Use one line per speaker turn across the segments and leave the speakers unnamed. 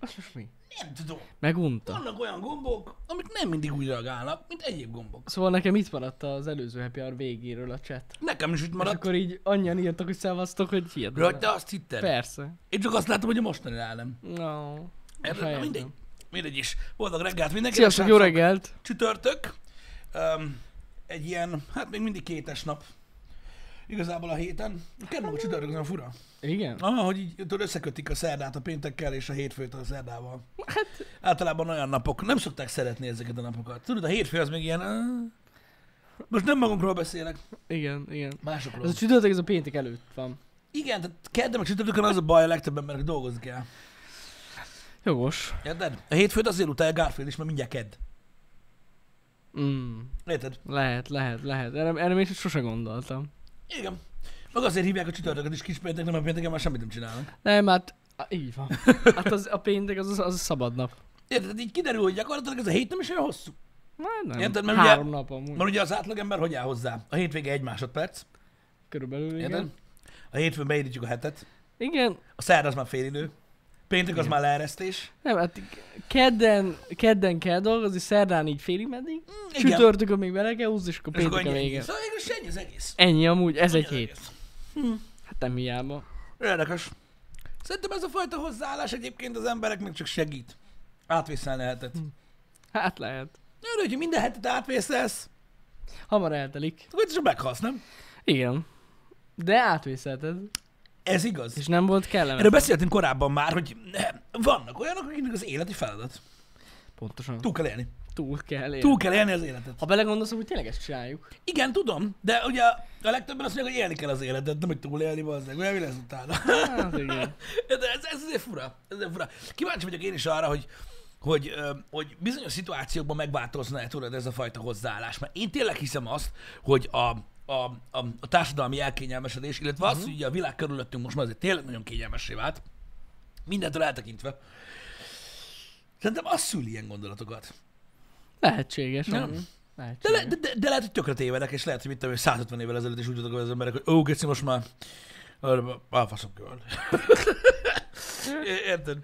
Az most mi?
Nem tudom.
Megunta.
Vannak olyan gombok, amik nem mindig úgy reagálnak, mint egyéb gombok.
Szóval nekem itt maradt az előző happy hour végéről a chat.
Nekem is itt
És
maradt.
akkor így annyian írtak, hogy szevasztok, hogy
Rögt,
hihetetlen.
de azt hitted.
Persze.
Én csak azt látom, hogy a mostanál nem.
No.
Erre, na, mindegy. Mindegy is. Boldog reggelt mindenkinek.
Sziasztok, jó
srácok.
reggelt!
Csütörtök. Um, egy ilyen, hát még mindig kétes nap. Igazából a héten. Kell
Hát,
maga csütörtök, olyan fura.
Igen?
Ah, hogy így tudod, összekötik a szerdát a péntekkel és a hétfőt a szerdával.
Hát,
Általában olyan napok, nem szokták szeretni ezeket a napokat. Tudod, a hétfő az még ilyen... "Á." Most nem magunkról beszélek,
igen, igen.
másokról.
Ez a csütörtök, ez a péntek előtt van.
Igen, tehát kedden meg csütörtökön az a baj a legtöbb embernek dolgozni kell.
Jogos.
Érted? A hétfőt azért utálja Garfield is, mert mindjárt kedd.
Mm.
Érted?
Lehet, lehet, lehet. Erre, erre még sose gondoltam.
Igen. Meg azért hívják a csütörtöket is kis péntek, nem a pénteken már semmit nem csinálnak.
Nem, hát á, így van. Hát az, a péntek az, az, az a szabad nap.
Érted? Tehát így kiderül, hogy gyakorlatilag ez a hét nem is olyan hosszú.
Na, nem.
Érted, mert ugye-
Három nap amúgy.
Mert ugye az átlagember hogy áll hozzá? A hétvége egy másodperc.
Körülbelül, igen.
Érted? A hétfőn beírítjuk a hetet.
Igen.
A szerda az már félidő. Péntek az
Igen.
már leeresztés.
Nem, hát kedden, kedden kell dolgozni, szerdán így félig meddig.
Igen.
Csütörtökön még bele kell húzni, és akkor
És akkor
Hmm, péntek a
ennyi.
vége.
Szóval végül ennyi az egész.
Ennyi amúgy, ez
Ennyi
egy
az
hét.
egész.
Hát nem hiába.
Érdekes. Szerintem ez a fajta hozzáállás egyébként az embereknek csak segít. Átvészelni a hetet.
Hát lehet.
Örülj, hogyha minden hetet átvészelsz,
Hamar eltelik.
akkor csak meghalsz, nem?
Igen. De átvészelted.
Ez igaz.
És nem volt kellemes.
Erről beszéltünk korábban már, hogy eh, vannak olyanok, akiknek az életi feladat.
Pontosan.
Túl kell élni.
Túl kell élni.
Túl kell élni az életet.
Ha belegondolsz, hogy tényleg ezt csináljuk.
Igen, tudom, de ugye a legtöbben azt mondják, hogy élni kell az életet, nem hogy túlélni, bazdmeg, olyan mi lesz utána.
Hát igen.
Hm. De ez, ez azért fura, ez azért fura. Kíváncsi vagyok én is arra, hogy, hogy, ö, hogy bizonyos szituációkban megváltozna-e tudod ez a fajta hozzáállás. Mert én tényleg hiszem azt, hogy a, a, a, a társadalmi elkényelmesedés, illetve az, hogy ugye a világ körülöttünk most már azért tényleg nagyon kényelmessé vált, mindentől eltekintve, szerintem az szül ilyen gondolatokat.
Lehetséges.
Nem.
amúgy.
De,
Lehetséges.
le, de, de, de lehet, hogy tökre tévedek, és lehet, hogy mit tudom, én, 150 évvel ezelőtt is úgy tudok az emberek, hogy ó, geci, most már alfaszom kell. Érted?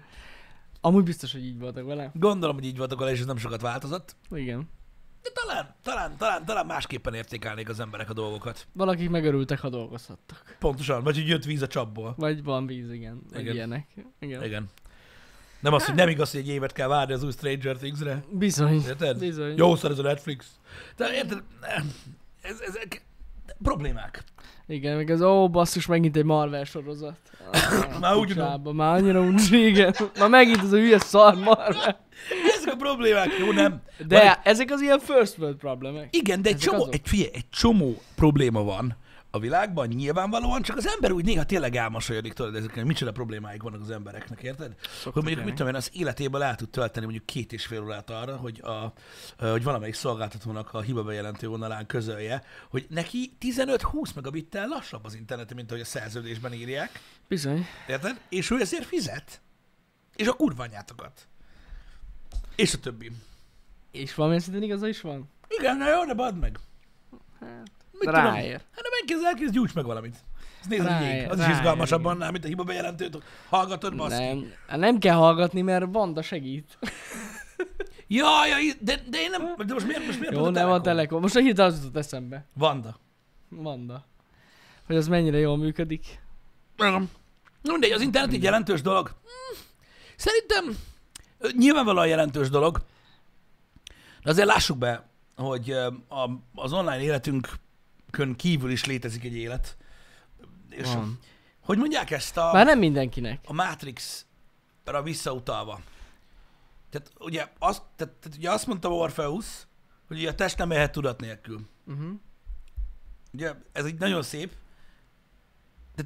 Amúgy biztos, hogy így voltak vele.
Gondolom, hogy így voltak vele, és ez nem sokat változott.
Igen.
De talán, talán, talán, talán másképpen értékelnék az emberek a dolgokat.
Valakik megörültek, ha dolgozhattak.
Pontosan, vagy hogy jött víz a csapból.
Vagy van víz, igen. Vagy
Igen.
ilyenek. Igen.
Igen. Nem az, hogy nem igaz, hogy egy évet kell várni az új Stranger Things-re.
Bizony.
Érted?
Bizony.
Jó szar ez a Netflix. De érted? Ez, ezek problémák.
Igen, meg az ó, basszus, megint egy Marvel sorozat. Ah,
Már úgy
picsába, Már annyira uncs, igen. Már megint az a hülye szar Marvel.
Ezek a problémák, jó nem?
De ezek az ilyen first world problémák.
Igen, de egy
Ezek
csomó,
azok?
egy, figyelj, egy csomó probléma van a világban, nyilvánvalóan, csak az ember úgy néha tényleg elmosolyodik tőled ezeken, hogy micsoda problémáik vannak az embereknek, érted? hogy mondjuk, mit
ilyenek.
tudom én, az életében el tud tölteni mondjuk két és fél órát arra, hogy, a, ö, hogy valamelyik szolgáltatónak a hiba bejelentő vonalán közölje, hogy neki 15-20 megabittel lassabb az internet, mint ahogy a szerződésben írják,
Bizony.
érted? És ő ezért fizet. És a kurványátokat. És a többi.
És valamilyen szinten igaza is van.
Igen, na jó, de badd meg.
Hát,
Mit tudom én?
ráér.
Hát nem elkezd, elkezd gyújts meg valamit. Ez nézd, hogy
Ráér,
jég. Az is
ráér,
izgalmasabb
igen.
annál, mint a hiba bejelentőt hallgatod, basz.
Nem, hát nem kell hallgatni, mert Vanda segít.
Jaj, jaj, de, de én nem, de most miért, most miért
Jó,
pont
nem a Telekom. Most a hirtelen az jutott eszembe.
Vanda.
Vanda. Hogy az mennyire jól működik.
Igen. Na Mindegy, az internet egy jelentős dolog. Hmm, Szerintem ö, nyilvánvalóan jelentős dolog. De azért lássuk be, hogy ö, a, az online életünkön kívül is létezik egy élet. És
Van.
hogy mondják ezt a...
Már nem mindenkinek.
a Matrix-ra visszautalva. Tehát ugye, azt, tehát, tehát ugye azt mondta Orpheus, hogy ugye a test nem élhet tudat nélkül.
Uh-huh.
Ugye ez így nagyon szép, de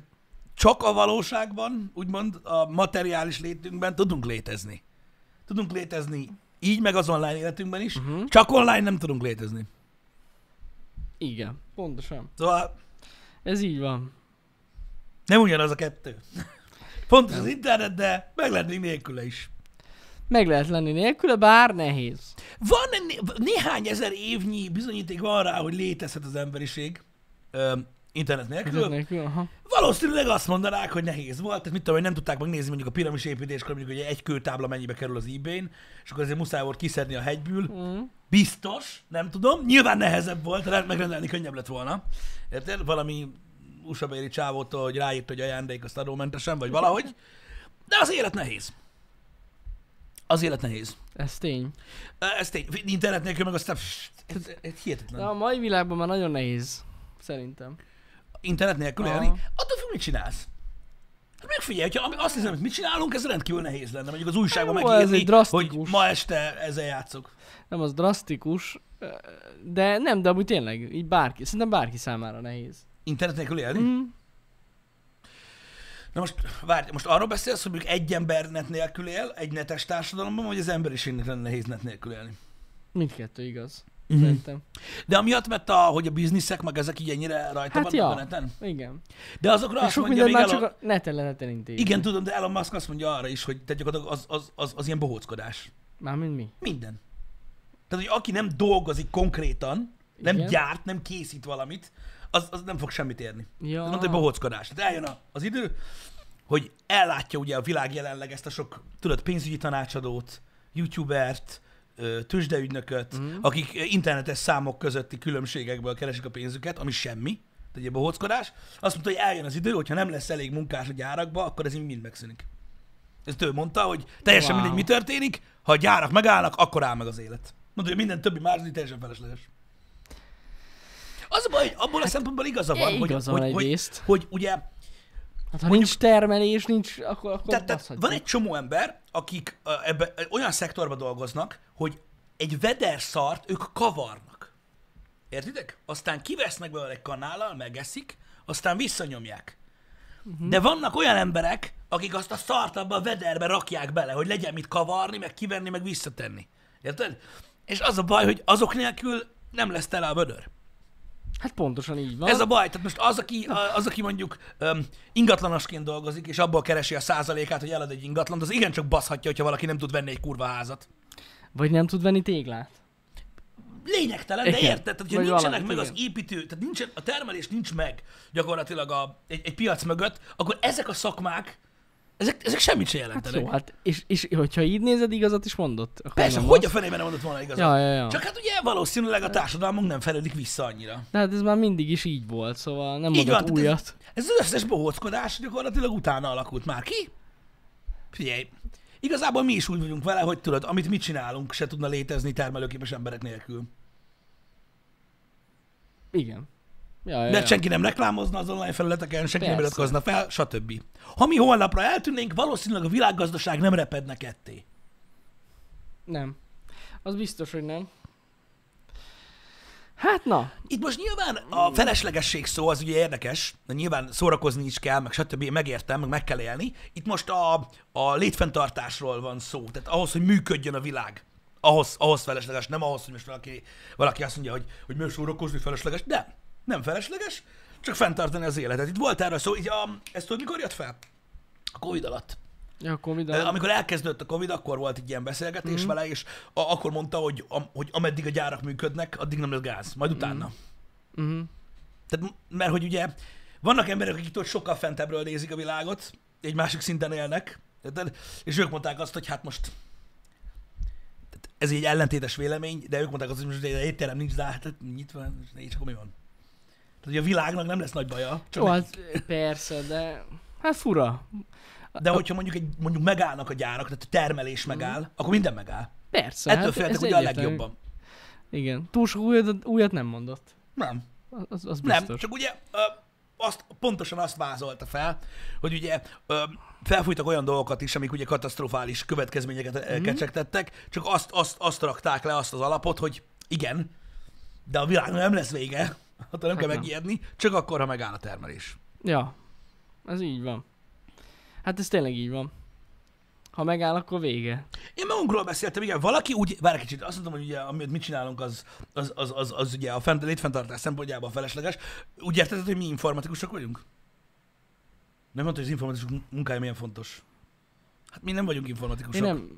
csak a valóságban, úgymond a materiális létünkben tudunk létezni. Tudunk létezni így, meg az online életünkben is,
Mhm.
uh-huh. csak online nem tudunk létezni.
Igen, pontosan.
Szóval
Ez így van.
nem ugyanaz a kettő. Fontos az internet, de meg lehet még nélküle is.
Meg lehet lenni nélküle, bár nehéz.
Van né- néhány ezer évnyi bizonyíték van rá, hogy létezhet az emberiség ö, internet nélkül,
Ezek nélkül, aha.
Valószínűleg azt mondanák, hogy nehéz volt, tehát mit tudom, hogy nem tudták megnézni mondjuk a piramis építéskor, mondjuk, hogy egy kőtábla mennyibe kerül az ebay-n, és akkor azért muszáj volt kiszedni a hegyből.
Mm.
Biztos, nem tudom, nyilván nehezebb volt, rend- megrendelni könnyebb lett volna. Érted? Valami usa csávótól, hogy ráírt, hogy ajándék, azt adómentesen, vagy valahogy. De az élet nehéz. Az élet nehéz.
Ez tény.
Ez tény, internet nélkül meg aztán... pff, Ez, ez
De
hihetetlen.
a mai világban már nagyon nehéz. Szerintem.
internet nélkül
Aha.
élni, attól függ, mit csinálsz. Hát megfigyelj, hogyha ami- azt hiszem, hogy mit csinálunk, ez rendkívül nehéz lenne. Mondjuk az újságban
Jó, ez egy
megírni,
drasztikus.
hogy ma este ezzel játszok.
Nem az drasztikus, ö, de nem, de amúgy tényleg, így bárki, szerintem bárki számára nehéz.
Internet nélkül élni?
Mm.
Na most, várj, most arról beszélsz, hogy mondjuk egy ember net nélkül él, egy netes társadalomban, vagy az emberiségnek lenne nehéz net nélkül élni?
Mindkettő igaz.
Mhm.
Szerintem.
De amiatt, mert a, hogy a bizniszek, meg ezek így ennyire rajta
Hát
vannak
ja.
a neten?
Igen.
De azokra
De
azt
sok
mondja,
mindent
még
már
Elon...
csak a neten neten intéz.
Igen, tudom, de Elon Musk azt mondja arra is, hogy te gyakorlatilag az, az, az, az ilyen bohóckodás.
Mármint mi?
Minden. Tehát, hogy aki nem dolgozik konkrétan, nem Igen.
Igen.
gyárt, nem készít valamit, az, az nem fog semmit érni.
Ja.
Ez mondta, hogy bohóckodás. Tehát eljön a- az idő, hogy ellátja ugye a világ jelenleg ezt a sok, tudod, pénzügyi tanácsadót, youtubert, ö, tőzsdeügynököt,
Mhm.
mm. akik ö, internetes számok közötti különbségekből keresik a pénzüket, ami semmi, tehát ugye bohóckodás. Azt mondta, hogy eljön az idő, hogyha nem lesz elég munkás a gyárakba, akkor ez így mind megszűnik. Ezt ő mondta, hogy teljesen wow.
Wow.
mindegy, mi történik, ha a gyárak megállnak, akkor áll meg az élet. Mondta, hogy minden többi más teljesen felesleges. Az a baj, hogy abból a szempontból igaza van, hogy,
Hát e, igaza
hogy,
van
hogy,
egyrészt.
hogy ugye
Hát ha nincs termelés, nincs, akkor, akkor
tehát, tehát
baszhatjuk.
van egy csomó ember, akik ö, ebbe, ö, olyan szektorba dolgoznak, hogy egy veder szart ők kavarnak. Értitek? Aztán kivesznek belőle egy kanállal, megeszik, aztán visszanyomják. Uh-huh. De vannak olyan emberek, akik azt a szart abba a vederbe rakják bele, hogy legyen mit kavarni, meg kivenni, meg visszatenni. Érted? És az a baj, hogy azok nélkül nem lesz tele a vödör.
Hát pontosan így van.
Ez a baj, tehát most az, aki, a- az, aki mondjuk um, ingatlanosként dolgozik, és abból keresi a százalékát, hogy elad egy ingatlant, az igencsak baszhatja, hogyha valaki nem tud venni egy kurva házat.
Vagy nem tud venni téglát.
Lényegtelen, de
Igen.
érted? Tehát, hogyha
Vagy
nincsenek
valamit,
meg az
igen.
építő, tehát nincsen, a termelés nincs meg gyakorlatilag a, egy, egy piac mögött, akkor ezek a szakmák, ezek, ezek semmit sem
Hát
jelentenek.
jó, hát és, és hogyha így nézed, igazat is mondott. Akkor
Persze,
nem
hogy a
az.
fenében nem mondott volna igazat.
Ja, ja, ja.
Csak hát ugye valószínűleg a társadalmunk nem feledik vissza annyira.
De hát ez már mindig is így volt, szóval nem
Így
mondott
van, tehát
újat.
Ez az összes bohóckodás gyakorlatilag utána alakult már ki. Figyelj, igazából mi is úgy vagyunk vele, hogy tudod, amit mi csinálunk, se tudna létezni termelőképes emberek nélkül.
Igen. Ja, ja,
Mert
ja.
senki nem reklámozna az online felületeken, senki nem
Persze.
iratkozna fel, stb. Ha mi holnapra eltűnnénk, valószínűleg a világgazdaság nem repedne ketté.
Nem. Az biztos, hogy nem. Hát na,
Itt most nyilván a feleslegesség szó az ugye érdekes, de nyilván szórakozni is kell, meg stb. Én megértem, meg meg kell élni. Itt most a, a létfenntartásról van szó, tehát ahhoz, hogy működjön a világ. Ahhoz, ahhoz felesleges, nem ahhoz, hogy most valaki, valaki azt mondja, hogy, hogy miért szórakozni felesleges. Nem, nem felesleges, csak fenntartani az életet. Itt volt erről szó, így a, ezt tudod, mikor jött fel? A Covid alatt.
ja, akkor mi
Ö, Amikor elkezdődött a Covid, akkor volt egy ilyen beszélgetés mm. vele, és a, akkor mondta, hogy, a, hogy ameddig a gyárak működnek, addig nem lesz gáz, majd utána.
Mhm.
Tehát, m- mert hogy ugye vannak emberek, akik ott sokkal fentebbről nézik a világot, egy másik szinten élnek, érted? és ők mondták azt, hogy hát most tehát ez egy ellentétes vélemény, de ők mondták azt, hogy most egy étterem nincs, de hát nyitva, és akkor mi van? Tehát, hogy a világnak nem lesz nagy baja. Csak
Jó, hát persze, de hát fura.
De hogyha mondjuk, egy, mondjuk megállnak a gyárak, tehát a termelés megáll, mm. akkor minden megáll.
Persze,
Ettől
hát
féltek
ez
ugye a
egyértelmű.
legjobban.
Igen, túl sok újat, újat nem mondott.
Nem.
Az, az
Nem,
biztos.
csak ugye ö, azt, pontosan azt vázolta fel, hogy ugye ö, felfújtak olyan dolgokat is, amik ugye katasztrofális következményeket mm.
Mhm.
kecsegtettek, csak azt, azt, azt rakták le, azt az alapot, hogy igen, de a világnak nem lesz vége, attól nem hát
Hát
kell
nem.
megijedni, csak akkor, ha megáll a termelés.
Ja, ez így van. Hát ez tényleg így van. Ha megáll, akkor vége.
Én magunkról beszéltem, igen, valaki úgy, várj egy kicsit, azt mondtam, hogy ugye, amit mit csinálunk, az, az, az, az, az ugye a fent, létfenntartás szempontjából felesleges. Úgy érted, hogy mi informatikusok vagyunk? Nem mondta, hogy az informatikusok munkája milyen fontos. Hát mi nem vagyunk
Én
informatikusok.
nem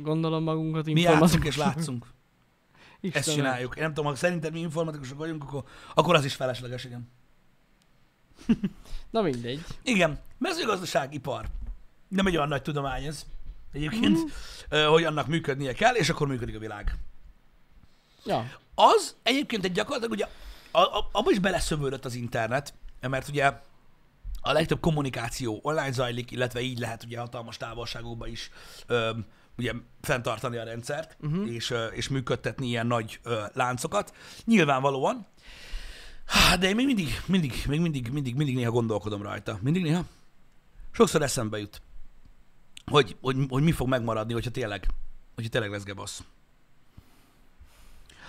gondolom magunkat
mi játszunk és
informatikus-
látszunk. Ezt
Istenem.
csináljuk. Én nem tudom, ha szerinted mi informatikusok vagyunk, akkor, akkor az is felesleges, igen.
Na mindegy.
Igen, mezőgazdaságipar. Nem egy olyan nagy tudomány ez egyébként,
Mhm.
mm. hogy annak működnie kell, és akkor működik a világ.
Ja.
Az egyébként egy gyakorlatilag ugye a- a- abba is beleszövődött az internet, mert ugye a legtöbb kommunikáció online zajlik, illetve így lehet ugye hatalmas távolságokba is öm, ugye fenntartani a rendszert, uh-huh. és, ö, és működtetni ilyen nagy ö, láncokat. Nyilvánvalóan. Há, De én még mindig, mindig, még mindig, mindig, mindig néha gondolkodom rajta. Mindig néha. Sokszor eszembe jut, hogy, hogy, hogy mi fog megmaradni, hogyha tényleg, hogyha tényleg lesz gebasz.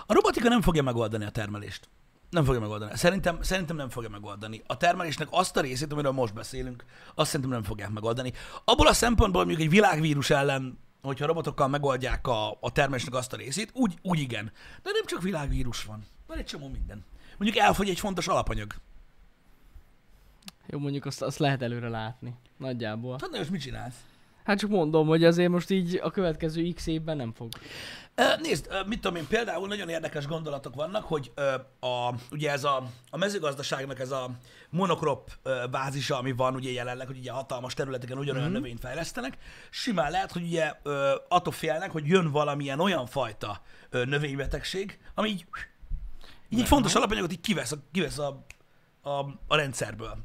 A robotika nem fogja megoldani a termelést. Nem fogja megoldani. Szerintem, szerintem nem fogja megoldani. A termelésnek azt a részét, amiről most beszélünk, azt szerintem nem fogják megoldani. Abból a szempontból, hogy mondjuk egy világvírus ellen, hogyha robotokkal megoldják a, a termelésnek azt a részét, úgy, úgy igen. De nem csak világvírus van. Van egy csomó minden. Mondjuk elfogy egy fontos alapanyag.
Jó, mondjuk azt, azt lehet előre látni. Nagyjából.
Tudod, most mit csinálsz?
Hát csak mondom, hogy azért most így a következő x évben nem fog.
Ö, Nézd, ö, mit tudom én, például nagyon érdekes gondolatok vannak, hogy ö, a, ugye ez a, a mezőgazdaságnak ez a monokrop ö, bázisa, ami van ugye jelenleg, hogy ugye hatalmas területeken ugyanolyan mm-hmm. növényt fejlesztenek, simán lehet, hogy ugye ö, attól félnek, hogy jön valamilyen olyan fajta ö, növénybetegség, ami így, így egy fontos alapanyagot így kivesz, a, kivesz a, a, a rendszerből.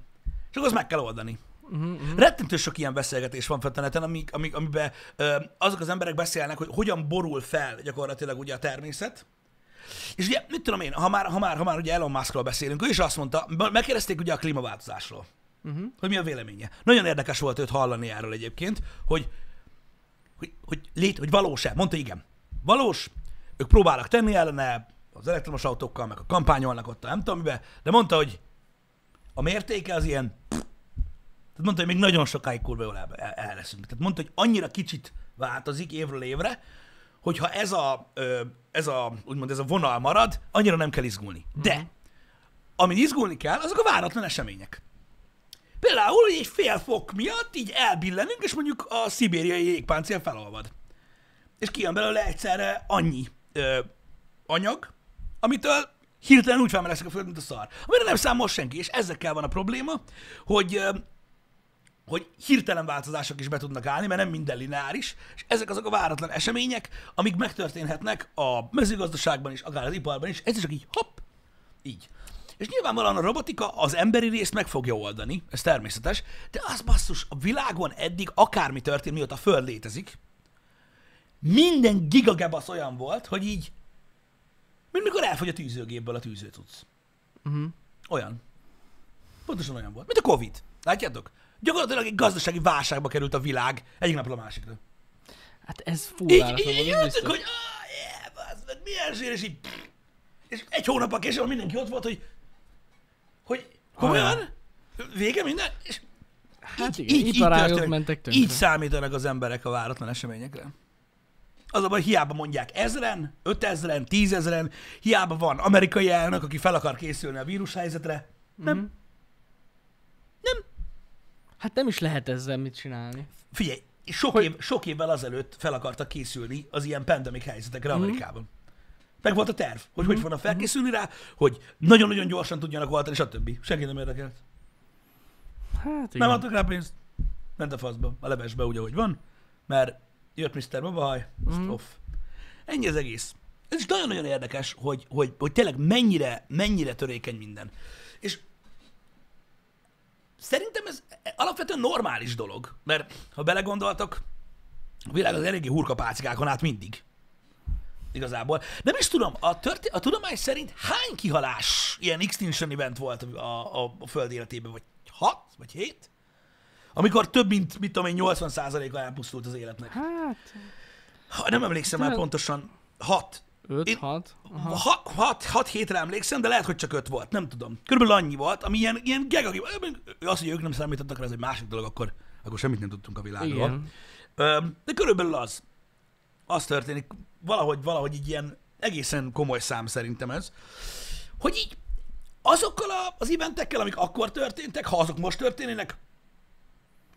És akkor azt meg kell oldani. Uh-huh. Rettentő sok ilyen beszélgetés van fel a neten, amik, amik, amiben ö, azok az emberek beszélnek, hogy hogyan borul fel gyakorlatilag ugye a természet. És ugye, mit tudom én, ha már, ha már, ha már ugye Elon Muskról beszélünk, ő is azt mondta, megkérdezték ugye a klímaváltozásról, uh-huh. hogy mi a véleménye. Nagyon érdekes volt őt hallani erről egyébként, hogy, hogy, hogy, lét, hogy valós-e. Mondta, igen. Valós, ők próbálnak tenni ellene, az elektromos autókkal, meg a kampányolnak ott, a nem tudom mibe, de mondta, hogy a mértéke az ilyen tehát mondta, hogy még nagyon sokáig kurva jól el, el, el leszünk. Tehát mondta, hogy annyira kicsit változik évről évre, hogyha ez a, ö, ez a, úgymond ez a vonal marad, annyira nem kell izgulni. De, amin izgulni kell, azok a váratlan események. Például, hogy egy fél fok miatt így elbillenünk, és mondjuk a szibériai jégpáncél felolvad. És kijön belőle egyszerre annyi ö, anyag, amitől hirtelen úgy felmereszek a föld, mint a szar. Amire nem számol senki, és ezekkel van a probléma, hogy ö, hogy hirtelen változások is be tudnak állni, mert nem minden lineáris, és ezek azok a váratlan események, amik megtörténhetnek a mezőgazdaságban is, akár az iparban is, ez csak így hopp, így. És nyilvánvalóan a robotika az emberi részt meg fogja oldani, ez természetes, de az basszus, a világon eddig akármi történt, mióta a Föld létezik, minden gigagebasz olyan volt, hogy így, mint mikor elfogy a tűzőgépből a tűző tudsz. Uh-huh. Olyan. Pontosan olyan volt. Mint a Covid. Látjátok? Gyakorlatilag egy gazdasági válságba került a világ egyik napról a másikra.
Hát ez
Így,
fúrálatlan
így, így
volt,
jöttünk,
biztos.
hogy ah, yeah, bazd meg, milyen zsír, és így... És egy hónappal később mindenki ott volt, hogy... Hogy komolyan? Vége minden? És
Hát igen, iparágok mentek tönkre.
így számítanak az emberek a váratlan eseményekre. Az a baj, hiába mondják ezren, ötezren, tízezren, hiába van amerikai elnök, aki fel akar készülni a vírushelyzetre. Nem.
Mhm.
Mm-hmm.
Hát nem is lehet ezzel mit csinálni.
Figyelj, sok, hogy... év, sok évvel azelőtt fel akartak készülni az ilyen pandemic helyzetekre Amerikában. Meg volt a terv, hogy hogy fognak felkészülni rá, hogy nagyon-nagyon gyorsan tudjanak oltani, stb. Senki nem érdekelt.
Hát igen.
Nem adtak rá pénzt. Ment a faszba, a levesbe úgy, ahogy van, mert jött Mr. Babahaj, azt off. Ennyi az egész. Ez is nagyon-nagyon érdekes, hogy, hogy, hogy tényleg mennyire, mennyire törékeny minden. És szerintem ez alapvetően normális dolog, mert ha belegondoltak, a világ az eléggé hurkapácikákon át mindig. Igazából. Nem is tudom, a, történ- a tudomány szerint hány kihalás ilyen extinction event volt a, a, a föld életében? Vagy hat? Vagy hét? Amikor több mint, mit tudom én, 80%-a elpusztult az életnek.
Hát,
Ha, nem emlékszem már
Tényleg?
pontosan. Hat. Én-
5-6.
Ha- hat, hat hétre emlékszem, de lehet, hogy csak öt volt, nem tudom. Körülbelül annyi volt, ami ilyen, ilyen geg, aki, az, hogy ők nem számítottak rá, ez egy másik dolog, akkor, akkor semmit nem tudtunk a világról.
Igen.
Öm, De körülbelül az. Az történik, valahogy, valahogy így ilyen egészen komoly szám szerintem ez, hogy így azokkal a, az eventekkel, amik akkor történtek, ha azok most történnének,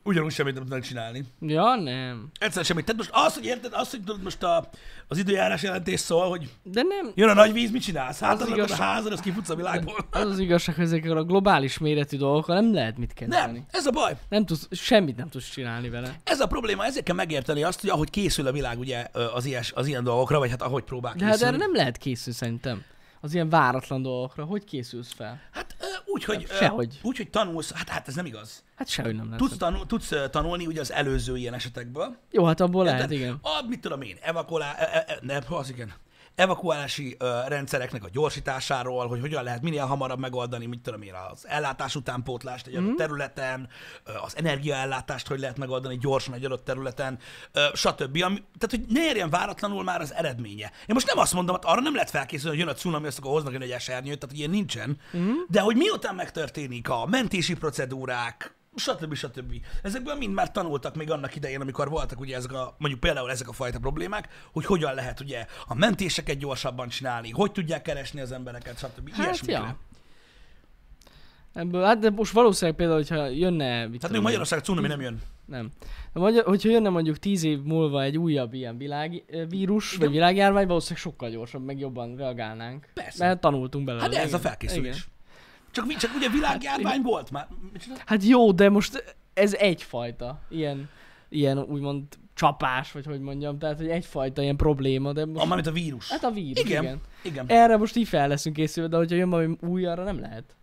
ugyanúgy semmit nem tudnak csinálni.
Ja, nem.
Egyszer semmit. Tehát most az, hogy érted, az, hogy tudod most a, az időjárás jelentés szól, hogy
De nem,
jön a nagy víz, mit csinálsz? Hát az a
igazság.
házad, az kifutsz a világból.
az az igazság, hogy ezekkel a globális méretű dolgokkal nem lehet mit kezdeni.
Nem,
Nem.
ez a baj.
nem tudsz, semmit nem tudsz csinálni vele.
Ez a probléma, ezért kell megérteni azt, hogy ahogy készül a világ ugye ö, az, ilyes, az ilyen dolgokra, vagy hát ahogy próbál
De hát
készülni.
erre nem lehet készülni szerintem. Az ilyen váratlan dolgokra. Hogy készülsz fel?
Hát ö, úgy, hogy, ö,
Sehogy.
úgy, hogy tanulsz, hát, hát ez nem igaz.
Hát sehogy nem lehet.
Tudsz, tanul, tudsz ö, tanulni ugye az előző ilyen esetekből.
Jó, hát abból lehet,
Tehát,
igen.
A, mit tudom én, evakuálá, e, e, nem, az igen. evakuálási ö, rendszereknek a gyorsításáról, hogy hogyan lehet minél hamarabb megoldani, mit tudom én, az ellátás utánpótlást egy
Mhm.
adott területen, ö, az energiaellátást hogy lehet megoldani gyorsan egy adott területen, ö, stb. Ami, tehát, hogy ne érjen váratlanul már az eredménye. Én most nem azt mondom, hogy arra nem lehet felkészülni, hogy jön a cunami, azt akkor hoznak egy nagy esernyőt, tehát ilyen nincsen.
Mhm.
De hogy miután megtörténik a mentési procedúrák, stb. stb. Ezekből mind már tanultak még annak idején, amikor voltak ugye ezek a, mondjuk például ezek a fajta problémák, hogy hogyan lehet ugye a mentéseket gyorsabban csinálni, hogy tudják keresni az embereket, stb.
Hát,
Ilyesmikre.
ja. Ebből, hát de most valószínűleg például, hogyha jönne... Mit
Tehát
tudom
Hát, még
én,
Magyarország cunami nem jön.
Nem. De magyar, hogyha jönne mondjuk tíz év múlva egy újabb ilyen világ, ö, vírus, vagy világjárvány, valószínűleg sokkal gyorsabb, meg jobban reagálnánk.
Persze.
Mert tanultunk belőle.
Hát de ez a
igen.
felkészülés.
Igen.
Csak, mi- csak ugye világjárvány volt már. Mit csinál?
Hát jó, de most ez egyfajta ilyen, ilyen úgymond csapás, vagy hogy mondjam, tehát hogy egyfajta ilyen probléma, de most...
Ah, Mármint a vírus.
Hát a vírus, igen.
igen.
igen.
igen.
Erre most így fel leszünk készülve, de hogyha jön valami új, arra nem lehet.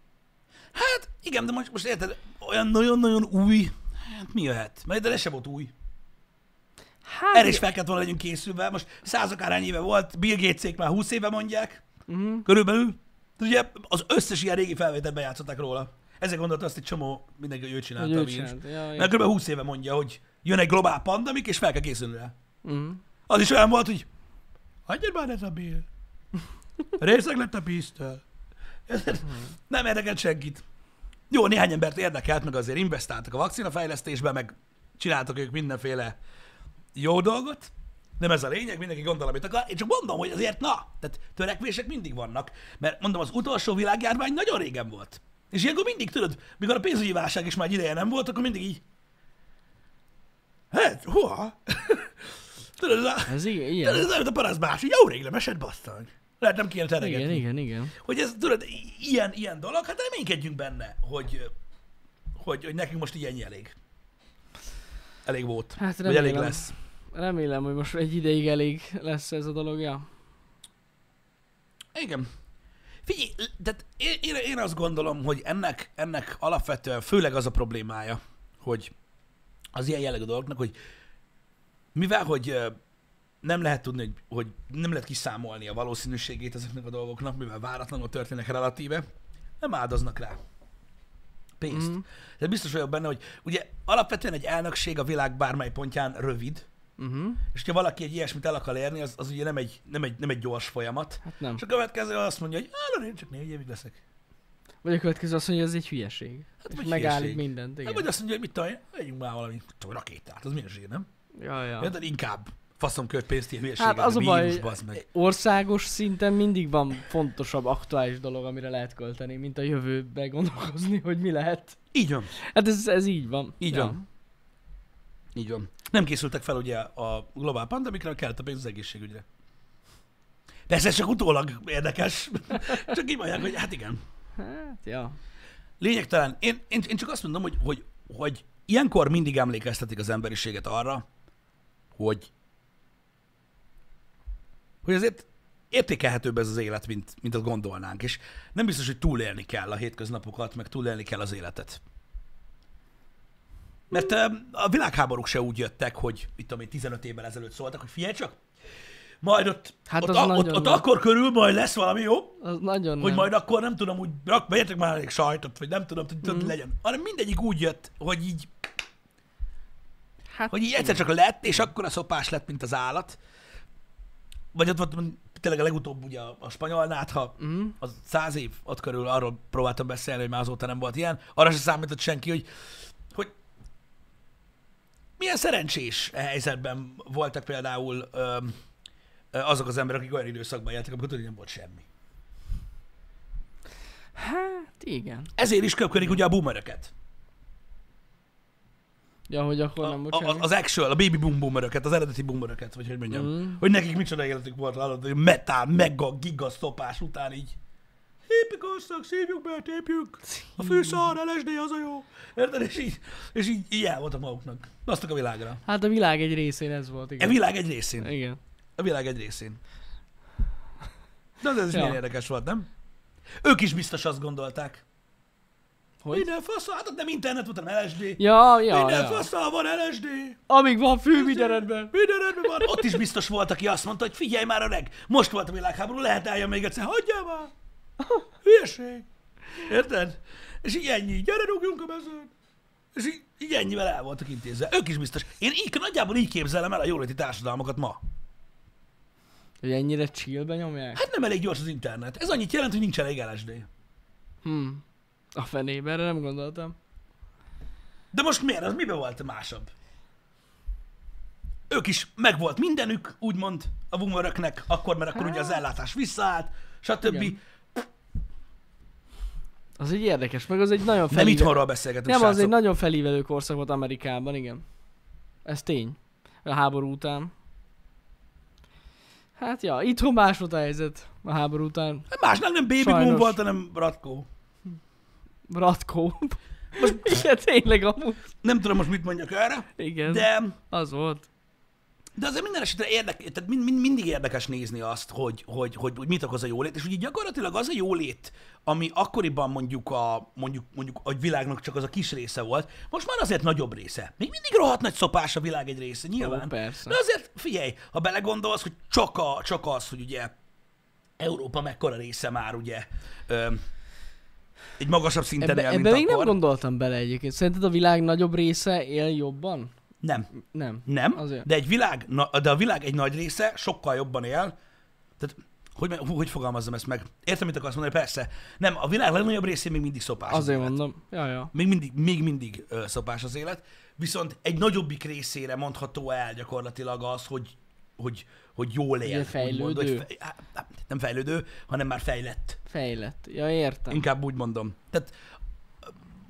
Hát igen, de most, most érted, olyan nagyon-nagyon új, hát mi jöhet? Mert de ez sem volt új.
Hát,
Erre is fel kellett volna legyünk készülve. Most százak arány éve volt, Bill Gatesék már 20 éve mondják,
Mhm.
körülbelül. De ugye az összes ilyen régi felvételben játszották róla. Ezért gondolta azt egy csomó mindenki, hogy ő
hogy
csinálta
ő
a vírus.
csinált. Ja, ja.
Mert kb. 20 éve mondja, hogy jön egy globál pandemik, és fel kell készülni rá.
Mhm.
Az is olyan volt, hogy hagyjad már ez a Bill. Részeg lett a víztől. Nem érdekelt senkit. Jó, néhány embert érdekelt, meg azért investáltak a vakcinafejlesztésbe, meg csináltak ők mindenféle jó dolgot, nem ez a lényeg, mindenki gondol, amit akar. Én csak mondom, hogy azért na, tehát törekvések mindig vannak. Mert mondom, az utolsó világjárvány nagyon régen volt. És ilyenkor mindig tudod, mikor a pénzügyi válság is már egy ideje nem volt, akkor mindig így. Hát, hova? tudod, ez a,
Ez i-
tudod,
ilyen.
ez olyan, mint a parasztbás, hogy jó rég nem esett basszony. Lehet nem kéne teregetni.
Igen, igen, igen.
Hogy ez, tudod, i- ilyen, ilyen dolog, hát reménykedjünk benne, hogy, hogy, hogy nekünk most ilyen elég. Elég volt.
Hát
vagy elég
remélem.
lesz.
Remélem, hogy most egy ideig elég lesz ez a dolog, ja.
Igen. Figyelj, tehát én, én, én azt gondolom, hogy ennek, ennek alapvetően főleg az a problémája, hogy az ilyen jellegű dolgoknak, hogy mivel, hogy ö, nem lehet tudni, hogy, hogy nem lehet kiszámolni a valószínűségét ezeknek a dolgoknak, mivel váratlanul történnek relatíve, nem áldoznak rá pénzt. Mm.
Mhm.
Tehát biztos vagyok benne, hogy ugye alapvetően egy elnökség a világ bármely pontján rövid,
Uh-huh.
és ha valaki egy ilyesmit el akar érni, az, az ugye nem egy, nem, egy, nem egy gyors folyamat,
Hát nem.
és a következő azt mondja, hogy arra én csak négy évig leszek.
Vagy a következő azt mondja, hogy ez egy hülyeség. Hát,
vagy
és megállít
hülyeség.
mindent,
Hát,
igen.
vagy azt mondja, hogy mit tudom, én, vegyünk már valami tudom, rakétát, az milyen zsír, nem?
Ja, ja.
Ja. inkább faszom költ pénzt ilyen hülyeséget,
Hát az a baj,
bazd meg.
országos szinten mindig van fontosabb, aktuális dolog, amire lehet költeni, mint a jövőbe gondolkozni, hogy mi lehet.
Így van,
Hát ez, ez így van.
így
ja.
van. Így van. Nem készültek fel ugye a globál pandemikra, kellett a pénz az egészségügyre. Persze ez csak utólag érdekes. csak így mondják, hogy hát igen.
Hát, ja.
Lényegtelen. Én, én, én csak azt mondom, hogy, hogy, hogy ilyenkor mindig emlékeztetik az emberiséget arra, hogy hogy azért értékelhetőbb ez az élet, mint, mint azt gondolnánk, és nem biztos, hogy túlélni kell a hétköznapokat, meg túlélni kell az életet. Mert ö, a világháborúk se úgy jöttek, hogy itt tudom én, 15 évvel ezelőtt szóltak, hogy figyelj csak, majd ott,
Hát
ott,
az
a, ott,
nagyon
ott
nem.
akkor körül majd lesz valami, jó?
Az nagyon
hogy
nem.
majd akkor nem tudom, úgy rak, vegyetek már elég sajtot, vagy nem tudom, hogy tudod, mm. legyen. Hanem mindegyik úgy jött, hogy így,
Hát,
hogy így egyszer csak lett, és akkor a szopás lett, mint az állat. Vagy ott volt mm, tényleg a legutóbb ugye a, a spanyolnál, ha
Mm.
az száz év ott körül arról próbáltam beszélni, hogy már azóta nem volt ilyen, arra se számított senki, hogy, hogy milyen szerencsés e helyzetben voltak például öm, ö, azok az emberek, akik olyan időszakban éltek, amikor tudod, hogy nem volt semmi.
Hát, igen. Hát
Ezért is köpködik ugye a boomereket.
Ja, hogy akkor nem,
a, a,
bocsánat.
az actual, a baby boom boomeröket, az eredeti boomeröket, vagy hogy mondjam. Mm. Hogy nekik micsoda életük volt, hallod, hogy metal, mega, giga szopás után így. Hipikosztak, szívjuk be, tépjük. A fűszar, LSD az a jó. Érted? És így, és így, így el voltak maguknak. Basztak a világra.
Hát a világ egy részén ez volt,
A
igen.
világ egy részén.
Igen.
A világ egy részén. De az ez is
Ja.
milyen érdekes volt, nem? Ők is biztos azt gondolták.
Hogy?
Minden faszal, hát ott nem internet volt, hanem LSD.
Ja, ja,
Minden
ja.
faszal van LSD.
Amíg van fű mindenedben.
Minden rendben van. Ott is biztos volt, aki azt mondta, hogy figyelj már öreg, most volt a világháború, lehet álljon még egyszer, hagyjál már. Hülyeség. Érted? És így ennyi, gyere rúgjunk a mezőn. És így, így ennyivel el voltak intézve. Ők is biztos. Én így, nagyjából így képzelem el a jóléti társadalmakat ma.
Hogy ennyire chillbe nyomják?
Hát nem elég gyors az internet. Ez annyit jelent, hogy nincs elég LSD.
Hm. A fenébe, erre nem gondoltam.
De most miért? Az miben volt másabb? Ők is megvolt mindenük, úgymond, a boomeröknek, akkor, mert akkor ugye az ellátás visszaállt, stb.
Igen. Az egy érdekes, meg az egy nagyon
Nem
felívelő...
itthonról beszélgetünk,
Nem, az
srácok.
egy nagyon felívelő korszak volt Amerikában, igen. Ez tény. A háború után. Hát ja, itthon más volt a helyzet a háború után.
Másnál nem Baby Sajnos. Boom
Sajnos.
volt, hanem Ratko.
Ratkó. Most... Igen, tényleg amúgy.
Nem tudom most mit mondjak erre,
Igen, de...
de,
az volt.
de azért minden esetre érdekes, tehát mind, mind, mindig érdekes nézni azt, hogy, hogy, hogy, hogy, mit okoz a jólét, és ugye gyakorlatilag az a jólét, ami akkoriban mondjuk a, mondjuk, mondjuk a világnak csak az a kis része volt, most már azért nagyobb része. Még mindig rohadt nagy szopás a világ egy része, nyilván.
Ó, persze.
De azért figyelj, ha belegondolsz, hogy csak, a, csak az, hogy ugye Európa mekkora része már ugye öm, egy magasabb szinten
Ebbe,
él, mint
ebbe még nem
akkor.
gondoltam bele egyébként. Szerinted a világ nagyobb része él jobban?
nem.
Nem.
Nem,
Azért.
de, egy világ, na- de a világ egy nagy része sokkal jobban él. Tehát, hogy, hú, hogy fogalmazzam ezt meg? Értem, mit akarsz mondani? Persze. Nem, a világ legnagyobb részén még mindig szopás. az
Azért
élet.
mondom. Ja, ja.
Még mindig, még mindig ö, szopás az élet. Viszont egy nagyobbik részére mondható el gyakorlatilag az, hogy, hogy, hogy jól él.
Ugye
úgymond, vagy
fejlődő.
fej- hát, hát, nem fejlődő, hanem már fejlett.
Fejlett. Ja, értem.
Inkább úgy mondom. Tehát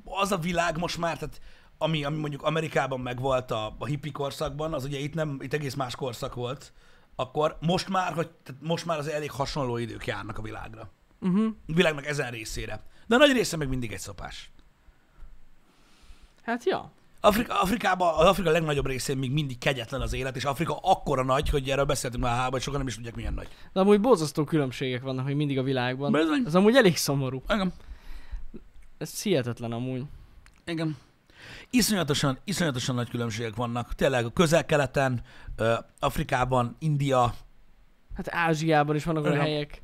az a világ most már, tehát ami, ami mondjuk Amerikában megvolt a, a hippi korszakban, az ugye itt nem, itt egész más korszak volt, akkor most már, hogy tehát most már az elég hasonló idők járnak a világra.
Uh-huh.
A világnak ezen részére. De a nagy része meg mindig egy szopás.
Hát ja.
Afrika, Afrikában, az Afrika legnagyobb részén még mindig kegyetlen az élet, és Afrika akkora nagy, hogy erről beszéltünk már hában, sokan nem is tudják, milyen nagy.
De amúgy borzasztó különbségek vannak, hogy mindig a világban.
Bizony.
Ez amúgy elég szomorú.
Igen.
Ez hihetetlen amúgy.
Igen. Iszonyatosan, iszonyatosan nagy különbségek vannak. Tényleg a közel-keleten, ö, Afrikában, India.
Hát Ázsiában is vannak olyan
Igen.
helyek.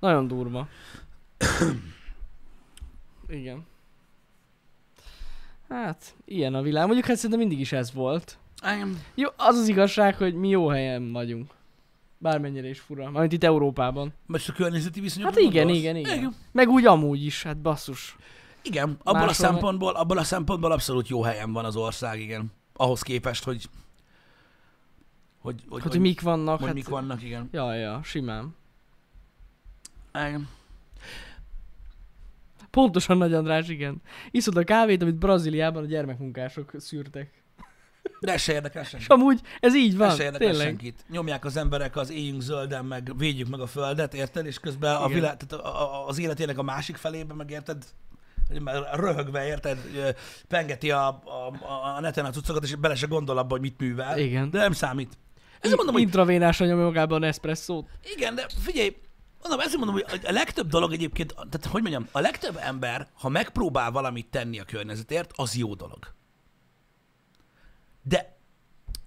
Nagyon durva. Igen. Hát, ilyen a világ. Mondjuk hát szerintem mindig is ez volt.
Igen.
Jó, az az igazság, hogy mi jó helyen vagyunk. Bármennyire is fura. Mármint itt Európában.
Most a környezeti viszonyok.
Hát igen, igen, igen.
igen.
Meg úgy amúgy is, hát basszus.
Igen, abból a
Máshol meg-
szempontból, abból a szempontból abszolút jó helyen van az ország, igen. Ahhoz képest, hogy hogy, hogy,
Hát, hogy mik vannak,
hogy
hát...
mik vannak, igen.
Ja, ja, simán.
igen.
Pontosan Nagy András, igen. Iszod a kávét, amit Brazíliában a gyermekmunkások szűrtek.
De ez se érdekel senki.
És amúgy ez így
Ez
van,
se érdekel
tényleg.
senkit. Nyomják az emberek az éljünk zölden, meg védjük meg a földet, érted? És közben a
Igen.
vilá... tehát a, a, az életének a másik felébe, meg érted? Hogy már Röhögve, érted? Ö, Pengeti a, a, a- a neten a cuccokat, és bele se gondol abba, hogy mit művel.
Igen.
De nem számít. Ezért mondom, hogy
Intravénásan nyomja magában eszpresszót.
igen, de figyelj, mondom, ezért mondom, hogy a legtöbb dolog egyébként, tehát hogy mondjam, a legtöbb ember, ha megpróbál valamit tenni a környezetért, az jó dolog. De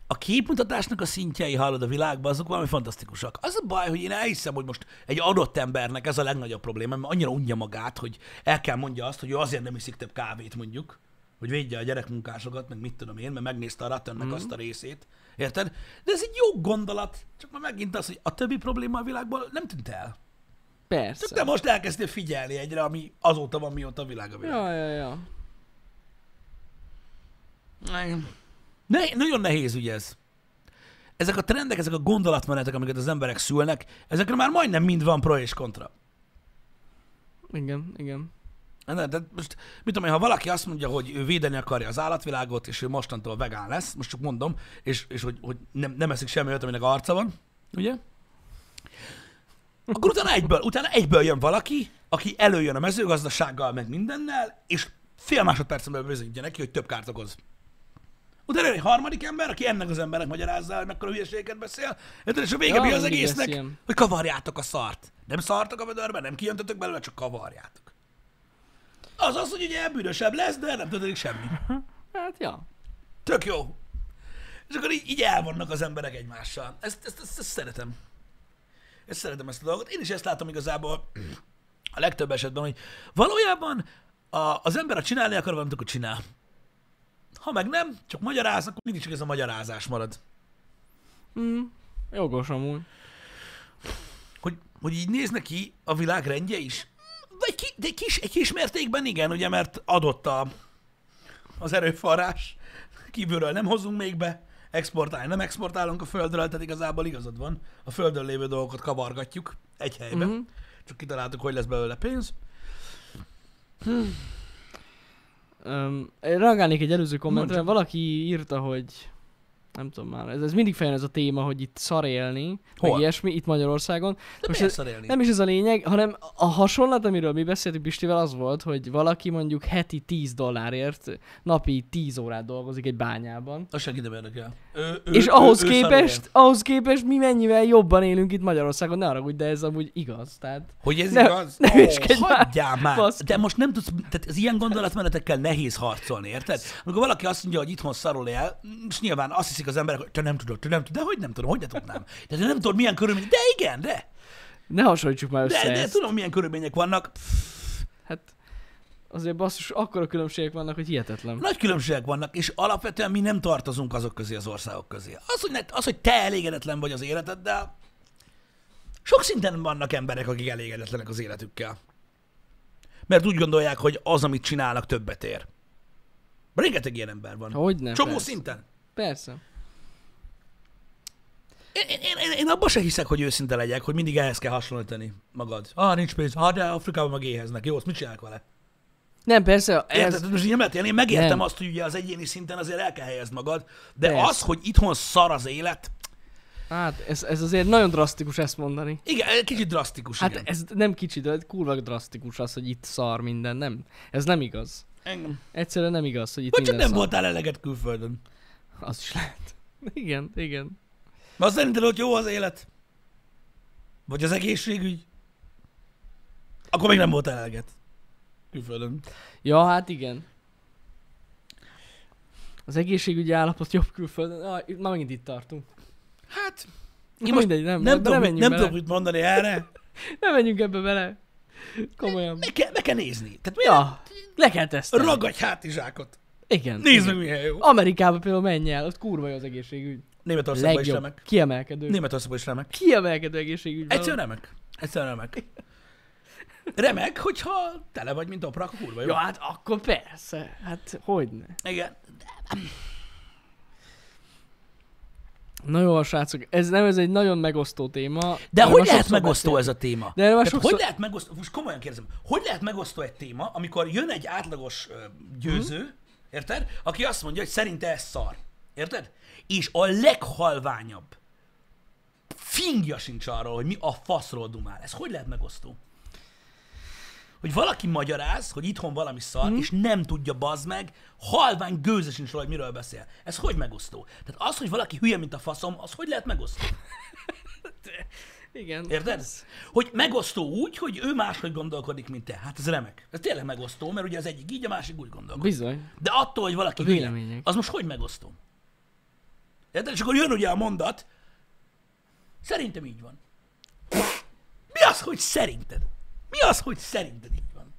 a képmutatásnak a szintjei, hallod a világban, azok valami fantasztikusak. Az a baj, hogy én elhiszem, hogy most egy adott embernek ez a legnagyobb probléma, mert annyira unja magát, hogy el kell mondja azt, hogy ő azért nem iszik több kávét mondjuk, hogy védje a gyerekmunkásokat, meg mit tudom én, mert megnézte a Rattennek mm. azt a részét. Érted? De ez egy jó gondolat, csak már megint az, hogy a többi probléma a világból nem tűnt el.
Persze.
Csak te most elkezdtél figyelni egyre, ami azóta van, mióta a világ a világ.
Ja, ja, ja.
Ne, nagyon nehéz ugye ez. Ezek a trendek, ezek a gondolatmenetek, amiket az emberek szülnek, ezekre már majdnem mind van pro és kontra.
Igen, igen.
Ne, de most, mit tudom én, ha valaki azt mondja, hogy ő védeni akarja az állatvilágot, és ő mostantól vegán lesz, most csak mondom, és, és hogy, hogy nem, nem eszik semmi olyat, aminek arca van, ugye? Akkor utána egyből, utána egyből jön valaki, aki előjön a mezőgazdasággal, meg mindennel, és fél másodpercen belül bizonyítja neki, hogy több kárt okoz. Utána jön egy harmadik ember, aki ennek az embernek magyarázza, hogy mekkora hülyeséget beszél, és a vége
Ja,
mi az
mindig lesz
egésznek,
ilyen.
hogy kavarjátok a szart. Nem szartok a vödörbe, nem kijöntötök belőle, csak kavarjátok. Az az, hogy ugye bűnösebb lesz, de nem történik semmi.
Hát, ja.
Tök jó. És akkor így, így elvannak az emberek egymással. Ezt, ezt, ezt, ezt szeretem. Ezt szeretem ezt a dolgot. Én is ezt látom igazából a legtöbb esetben, hogy valójában a, az ember a csinálni akar valamit, akkor csinál. Ha meg nem, csak magyaráz, akkor mindig csak ez a magyarázás marad.
Mm, jogos amúgy.
Hogy, hogy így néz neki a világ rendje is? De egy, ki, de egy, kis, egy kis mértékben igen, ugye, mert adott a, az erőforrás, kívülről nem hozunk még be, exportálni nem exportálunk a földről, tehát igazából igazad van, a földön lévő dolgokat kavargatjuk egy helybe,
Mhm.
uh-huh. csak kitaláltuk, hogy lesz belőle pénz.
Öm, én reagálnék egy előző kommentre,
Mondjuk.
valaki írta, hogy nem tudom már, ez, ez mindig feljön ez a téma, hogy itt szar élni,
Hol?
meg ilyesmi, itt Magyarországon.
De
Most
Most
ez-
miért szarélni?
Nem is ez a lényeg, hanem a hasonlat, amiről mi beszéltünk Pistivel, az volt, hogy valaki mondjuk heti 10 dollárért napi 10 órát dolgozik egy bányában.
Azt senki nem érdekel. Ő, ő,
És ahhoz
ő- ő
képest,
szarél.
ahhoz képest mi mennyivel jobban élünk itt Magyarországon, ne haragudj, de ez amúgy igaz, tehát...
Hogy ez
Ne-
igaz?
ne
Ó,
hülyeskedj már.
hagyjál már!
Baszki.
De most nem tudsz, tehát az ilyen gondolatmenetekkel nehéz harcolni, érted? Amikor valaki azt mondja, hogy itthon szarul él, és nyilván azt hiszik az emberek, hogy te nem tudod, te nem tudod, de hogy nem tudom, hogy ne tudnám. De te nem tudod, milyen körülmények, de igen, de,
Ne hasonlítsuk már össze
de, de
ezt.
tudom, milyen körülmények vannak.
Hát azért basszus, akkora különbségek vannak, hogy hihetetlen.
Nagy különbségek vannak, és alapvetően mi nem tartozunk azok közé, az országok közé. Az, hogy, ne, az, hogy te elégedetlen vagy az életeddel, sok szinten vannak emberek, akik elégedetlenek az életükkel. Mert úgy gondolják, hogy az, amit csinálnak, többet ér. Rengeteg ilyen ember van.
Hogyne,
Csomó
persze.
szinten.
Persze.
Én, én, én, én abban se hiszek, hogy őszinte legyek, hogy mindig ehhez kell hasonlítani magad. Ah, nincs pénz. Ah, de Afrikában meg éheznek. Jó, azt mit csinálják vele?
Nem, persze,
Érted?
ez,
Tehát Most így nem lehet élni. Én megértem
Nem.
azt, hogy ugye az egyéni szinten azért el kell helyezni magad, de
Persze.
az, hogy itthon szar az élet,
hát, ez, ez azért nagyon drasztikus ezt mondani.
igen, egy kicsit drasztikus.
Hát
igen.
ez nem kicsi, de kurva drasztikus az, hogy itt szar minden, nem? Ez nem igaz.
Engem.
Egyszerűen nem igaz, hogy itt
Vagy csak
minden
nem
szar.
voltál eleget külföldön.
Az is lehet. Igen, igen.
De azt szerinted, hogy jó az élet? Vagy az egészségügy? Akkor még nem voltál eleget. Külföldön.
Ja, hát igen. Az egészségügyi állapot jobb külföldön. Ah, itt már megint itt tartunk.
Hát,
Én
most
mindegy,
nem,
nem, nem, nem,
tudom, mit,
menjünk
nem
bele.
tudom, mit mondani erre.
nem menjünk ebbe bele. Komolyan.
Meg kell, meg kell nézni. Tehát mi a
Ja, le kell tesztelni.
ragadj hátizsákot.
Igen.
Nézd
igen.
meg, milyen jó.
Amerikába például menj el, ott kurva jó az egészségügy.
Németországban is
Legjobb.
remek.
Kiemelkedő.
Németországban is remek.
Kiemelkedő egészségügy. van.
Egyszerűen remek. Egyszerűen remek. Remek, hogyha tele vagy, mint opra, akkor kurva jó.
Ja, hát akkor persze. Hát hogyne.
Igen.
Na jó, a srácok, ez nem, ez egy nagyon megosztó téma.
De
Erről
hogy
már
lehet
sokszor
megosztó
beszéltünk.
ez a téma?
De erről már
Tehát
sokszor-
Hogy lehet megosztó, most komolyan kérdezem, hogy lehet megosztó egy téma, amikor jön egy átlagos ö, győző,
Mhm.
érted? Aki azt mondja, hogy szerinte ez szar. Érted? És a leghalványabb fingja sincs arról, hogy mi a faszról dumál. Ez hogy lehet megosztó? Hogy valaki magyaráz, hogy itthon valami szar,
Mhm.
és nem tudja bazd meg, halvány gőze sincs róla, hogy miről beszél. Ez hogy megosztó? Tehát az, hogy valaki hülye, mint a faszom, az hogy lehet megosztó?
Igen.
Érted? Hogy megosztó úgy, hogy ő máshogy gondolkodik, mint te. Hát ez remek. Ez tényleg megosztó, mert ugye az egyik így, a másik úgy gondolkodik.
Bizony.
De attól, hogy valaki
A
hülye,
vélemények.
az most hogy megosztó? Érted? És akkor jön ugye a mondat, szerintem így van. Mi az, hogy szerinted? Mi az, hogy szerinted így van?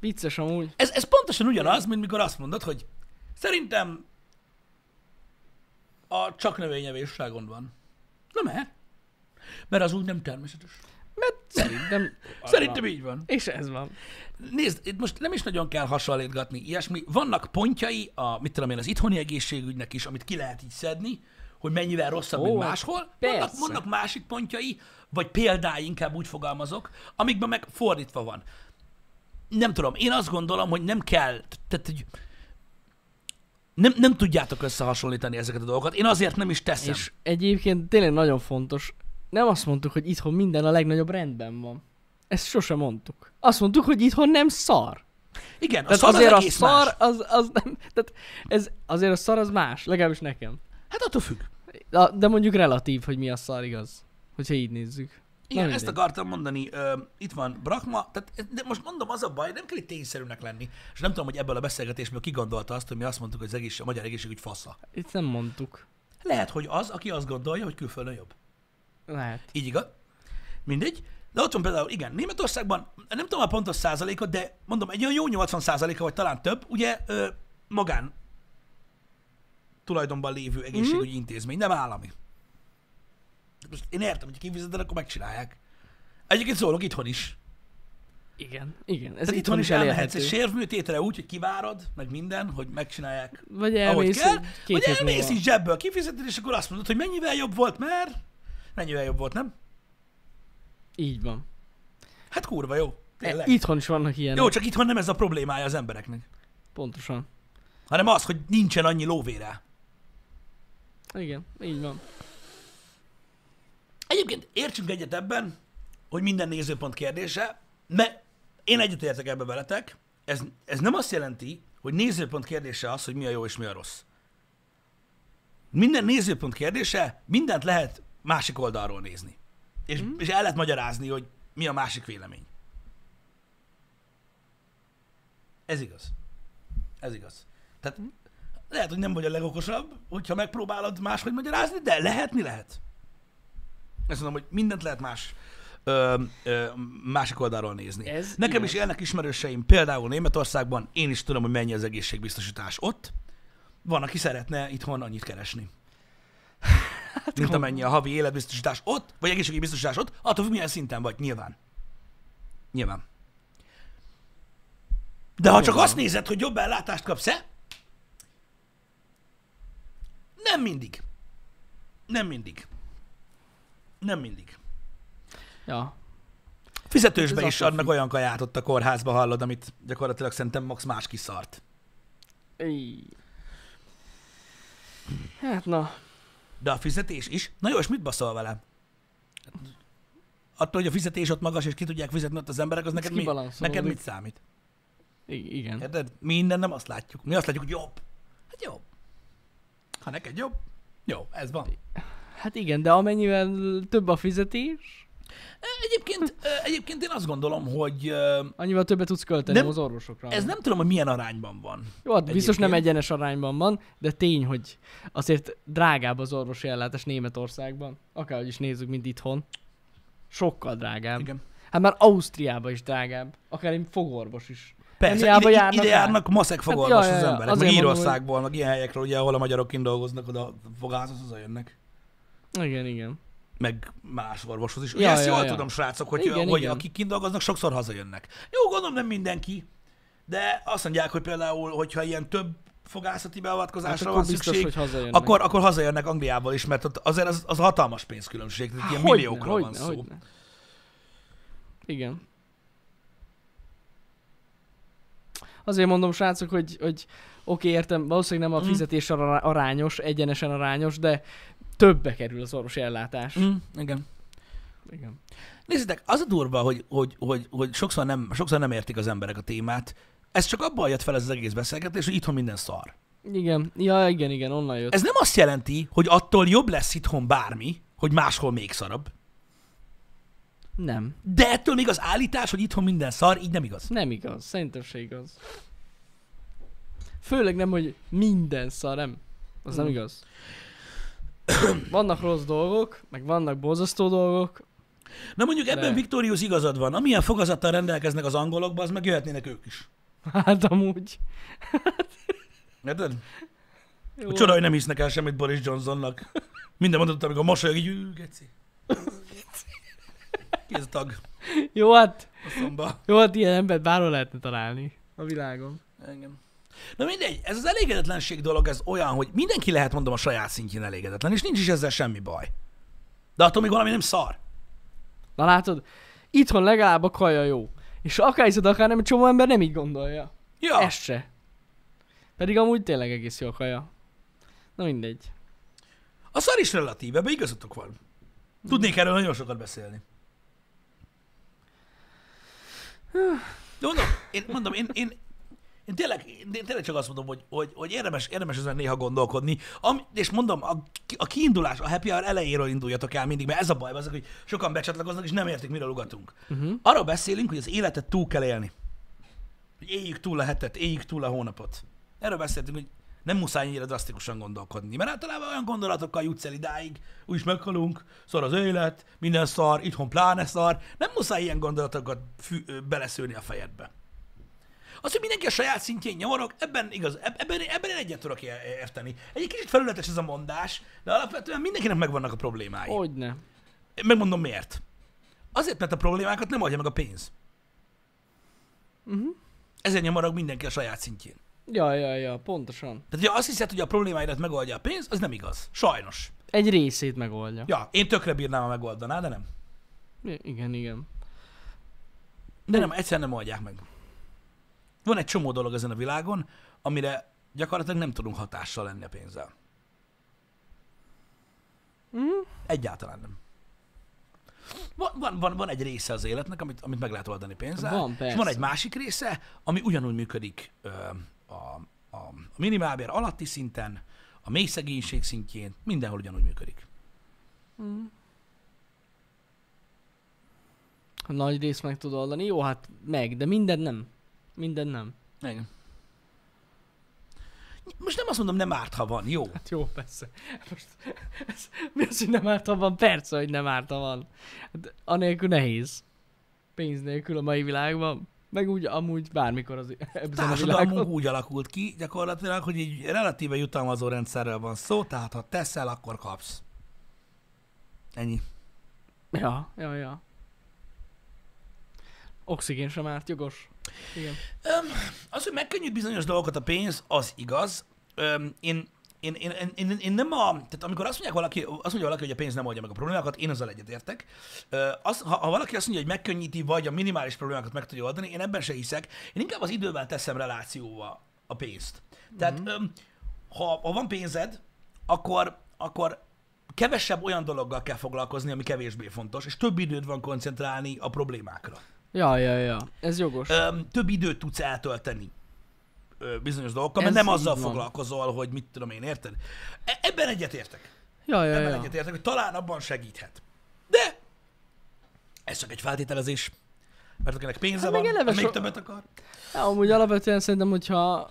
Vicces amúgy.
Ez, ez pontosan ugyanaz, mint mikor azt mondod, hogy szerintem a csak növényevésságon van. Na mert? Mert az úgy nem természetes.
Mert szerintem...
Szerintem így van.
És ez van.
Nézd, itt most nem is nagyon kell hasonlítgatni ilyesmi. Vannak pontjai, a, mit tudom én, az itthoni egészségügynek is, amit ki lehet így szedni, hogy mennyivel rosszabb, mint
Ó, hát
máshol. Vannak,
persze.
vannak másik pontjai, vagy példái, inkább úgy fogalmazok, amikben meg fordítva van. Nem tudom, én azt gondolom, hogy nem kell, tehát hogy nem, nem tudjátok összehasonlítani ezeket a dolgokat. Én azért nem is teszem.
És egyébként tényleg nagyon fontos, nem azt mondtuk, hogy itthon minden a legnagyobb rendben van. Ezt sosem mondtuk. Azt mondtuk, hogy itthon nem szar.
Igen, a
Tehát
szar
szar azért
az
a
egész
szar,
más.
az, az nem, tehát ez, azért a szar az más, legalábbis nekem.
Hát attól függ.
De, de mondjuk relatív, hogy mi a szar, igaz? Hogyha így nézzük.
Igen,
Na,
ezt
mindegy.
akartam mondani. Ö, itt van Brakma, tehát, ez- de most mondom, az a baj, nem kell itt tényszerűnek lenni. És nem tudom, hogy ebből a beszélgetésből ki gondolta azt, hogy mi azt mondtuk, hogy az egész, a magyar egészségügy fasza.
Itt nem mondtuk.
Lehet, hogy az, aki azt gondolja, hogy külföldön jobb.
Lehet.
Így igaz? Mindegy. De ott van például, igen, Németországban, nem tudom a pontos százalékot, de mondom, egy olyan jó 80 százaléka, vagy talán több, ugye ö, magán tulajdonban lévő
Mhm.
egészségügyi intézmény, nem állami. Most én értem, hogy kifizeted, akkor megcsinálják. Egyébként szólok itthon is.
Igen. Igen. Ez
Ez
itt
itthon is elmehetsz
elérhető.
egy sérvműtétre úgy, hogy kivárod, meg minden, hogy megcsinálják,
Vagy
ahogy
elmész
kell.
egy- két
Vagy
hét
elmész
múlva.
így zsebből, kifizeted, és akkor azt mondod, hogy mennyivel jobb volt, mert mennyivel jobb volt, nem?
Így van.
Hát kurva jó.
E,
Tényleg.
itthon is vannak ilyenek.
Jó, csak itthon nem ez a problémája az embereknek,
Pontosan.
hanem az, hogy nincsen annyi lóvére.
Igen, így van.
Egyébként értsünk egyet ebben, hogy minden nézőpont kérdése, mert én egyetértek ebbe veletek, ez, ez nem azt jelenti, hogy nézőpont kérdése az, hogy mi a jó és mi a rossz. Minden nézőpont kérdése, mindent lehet másik oldalról nézni. És,
Mhm.
mm. és el lehet magyarázni, hogy mi a másik vélemény. Ez igaz. Ez igaz. Tehát
Mhm.
lehet, hogy nem vagy a legokosabb, hogyha megpróbálod máshogy magyarázni, de lehetni lehet. Ezt mondom, hogy mindent lehet más ö, ö, másik oldalról nézni.
Ez
Nekem
igaz.
is élnek ismerőseim, például Németországban, én is tudom, hogy mennyi az egészségbiztosítás ott. Van, aki szeretne itthon annyit keresni. Hát, mint amennyi a havi életbiztosítás ott, vagy egészségügyi biztosítás ott, attól függ, milyen szinten vagy, nyilván. Nyilván. De ha csak
Nyilván.
azt nézed, hogy jobb ellátást kapsz-e, nem mindig. Nem mindig. Nem mindig.
Ja. Hát
Fizetősbe
ez
is
attól
adnak olyan kaját ott a kórházba, hallod, amit gyakorlatilag szerintem max más kiszart.
Így. Hát na.
De a fizetés is. Na jó, és mit baszol vele? Attól, hogy a fizetés ott magas, és ki tudják fizetni ott az emberek, az neked, mi,
kibalanszolódik.
neked mit számít?
I- igen.
Érted? Mi innen nem azt látjuk. Mi azt látjuk, hogy jobb. Hát jobb. Ha neked jobb, jó, ez van.
Hát igen, de amennyivel több a fizetés,
Egyébként, egyébként én azt gondolom, hogy ö,
annyival többet tudsz költeni
Nem-
az orvosokra.
ez nem tudom, hogy milyen arányban van.
Jó, hát biztos nem
Egyébként.
egyenes arányban van, de tény, hogy azért drágább az orvosi ellátás Németországban, akárhogy is nézzük, mint itthon. Sokkal drágább.
Igen.
Hát már Ausztriában is drágább, akár egy fogorvos is.
Persze,
Angliába
ide, járnak
járnak
ide
rá? Hát
járnak maszek fogorvos
ja,
az
ja,
emberek, meg
azért mondom,
Írországból, meg ilyen helyekről, ugye, ahol a magyarok kint dolgoznak, oda fogászhoz haza jönnek.
Igen, igen.
meg más orvoshoz is. Ugye
Ja,
ezt
ja,
jól
ja.
tudom, srácok, hogy, igen,
Igen,
hogy
igen.
akik kint dolgoznak, sokszor hazajönnek. Jó, gondolom nem mindenki, de azt mondják, hogy például, hogyha ilyen több fogászati
Hát
beavatkozásra
akkor
van
biztos,
szükség,
hogy hazajönnek.
akkor, akkor hazajönnek Angliából is, mert ott azért az, az hatalmas pénzkülönbség, tehát
Há,
ilyen
hogyne,
milliókról van
hogyne,
szó.
hogyne. Igen. Azért mondom, srácok, hogy, hogy oké, értem, valószínűleg nem a
Mhm.
fizetés ará- arányos, egyenesen arányos, de többbe kerül az orvosi ellátás.
Mm, igen.
Igen.
Nézzétek, az a durva, hogy, hogy, hogy, hogy sokszor, nem, sokszor nem értik az emberek a témát. Ez csak abban jött fel ez az egész beszélgetés, hogy itthon minden szar.
Igen, ja, igen, igen, onnan jött.
Ez nem azt jelenti, hogy attól jobb lesz itthon bármi, hogy máshol még szarabb.
Nem.
De ettől még az állítás, hogy itthon minden szar, így nem igaz.
Nem igaz, szerintem se igaz. Főleg nem, hogy minden szar, nem? Az nem
Mm.
igaz. Vannak rossz dolgok, meg vannak borzasztó dolgok.
Na mondjuk ebben
De.
Victorius igazad van. Amilyen fogazattal rendelkeznek az angolokba, az meg jöhetnének ők is.
Hát amúgy.
Érted?
Jó.
A Csoda, hogy nem hisznek el semmit Boris Johnsonnak. Minden mondatot, amikor mosolyog, így "Ú, geci. Ki ez a tag
Jó, hát,
a szomba?
jó, hát ilyen embert bárhol lehetne találni a világon.
Engem. Na mindegy, ez az elégedetlenség dolog, ez olyan, hogy mindenki lehet mondom a saját szintjén elégedetlen, és nincs is ezzel semmi baj. De attól még valami nem szar.
Na látod, itthon legalább a kaja jó. És akár hiszed, akár nem, egy csomó ember nem így gondolja.
Ja.
Ja. Ez se. Pedig amúgy tényleg egész jó a kaja. Na mindegy.
A szar is relatív, ebben igazatok van. Tudnék erről nagyon sokat beszélni. De mondom, én, mondom, én, én, én, tényleg, én tényleg csak azt mondom, hogy, hogy, hogy érdemes, érdemes ezen néha gondolkodni. Ami, és mondom, a, a kiindulás, a happy hour elejéről induljatok el mindig, mert ez a baj, azok, hogy sokan becsatlakoznak, és nem értik, miről ugatunk. Uh-huh. Arról beszélünk, hogy az életet túl kell élni. Hogy éljük túl a hetet, éljük túl a hónapot. Erről beszéltünk, hogy nem muszáj ennyire drasztikusan gondolkodni, mert általában olyan gondolatokkal jutsz el idáig, úgyis meghalunk, szar az élet, minden szar, itthon pláne szar, nem muszáj ilyen gondolatokat fű, ö, beleszőni a fejedbe. Az, hogy mindenki a saját szintjén nyavarog, ebben igaz, eb- ebben, ebben én egyet tudok é- érteni. Egy kicsit felületes ez a mondás, de alapvetően mindenkinek megvannak a problémái.
Hogyne.
Én Megmondom miért. Azért, mert a problémákat nem adja meg a pénz. Uh-huh. Ezért nyamarag mindenki a saját szintjén.
Ja, ja, ja, pontosan.
Tehát, hogyha azt hiszed, hogy a problémáidat megoldja a pénz, az nem igaz. Sajnos.
Egy részét megoldja.
Ja, én tökre bírnám, ha megoldaná, de nem.
I- Igen, igen.
De nem, egyszer nem oldják meg. Van egy csomó dolog ezen a világon, amire gyakorlatilag nem tudunk hatással lenni a pénzzel. Egyáltalán nem. Van, van, van, van egy része az életnek, amit, amit meg lehet oldani pénzzel,
Van,
és
persze.
van egy másik része, ami ugyanúgy működik ö, a, a, a minimálbér alatti szinten, a mély szegénység szintjén, mindenhol ugyanúgy működik.
A Nagy részt meg tud oldani. Jó, hát meg, de minden nem. Minden nem.
Igen. Most nem azt mondom, nem árt, ha van, jó.
Hát jó, persze. Most, ez, mi az, hogy nem árta van? Persze, hogy nem árta van. Hát, anélkül nehéz. Pénz nélkül a mai világban. Meg úgy amúgy bármikor az ebben a
társadalmunk
világon.
úgy alakult ki gyakorlatilag, hogy egy relatíve jutalmazó rendszerről van szó, tehát ha teszel, akkor kapsz. Ennyi.
Ja, ja, ja. Oxigén sem árt, jogos. Igen.
Az, hogy megkönnyít bizonyos dolgokat a pénz, az igaz. Öm, én, én, én, én, én, én nem a... Tehát amikor azt mondják valaki, azt mondja valaki, hogy a pénz nem oldja meg a problémákat, én azzal egyetértek. Ö, Az, ha, ha valaki azt mondja, hogy megkönnyíti, vagy a minimális problémákat meg tudja oldani, én ebben se hiszek. Én inkább az idővel teszem relációba a pénzt. Tehát mm-hmm. ha, ha van pénzed, akkor, akkor kevesebb olyan dologgal kell foglalkozni, ami kevésbé fontos, és több időd van koncentrálni a problémákra.
Ja, ja, ja. Ez jogos.
Öm, több időt tudsz eltölteni ö, bizonyos dolgokkal, mert
Ez
nem azzal
így van.
foglalkozol, hogy mit tudom én, érted? E- ebben egyetértek.
Ja, ja,
Ebben
ja.
egyetértek, hogy talán abban segíthet. De ez csak egy feltételezés. Mert akinek pénze
Hát meg
van,
eleve
még
so-
többet akar.
Ja, amúgy alapvetően szerintem, hogyha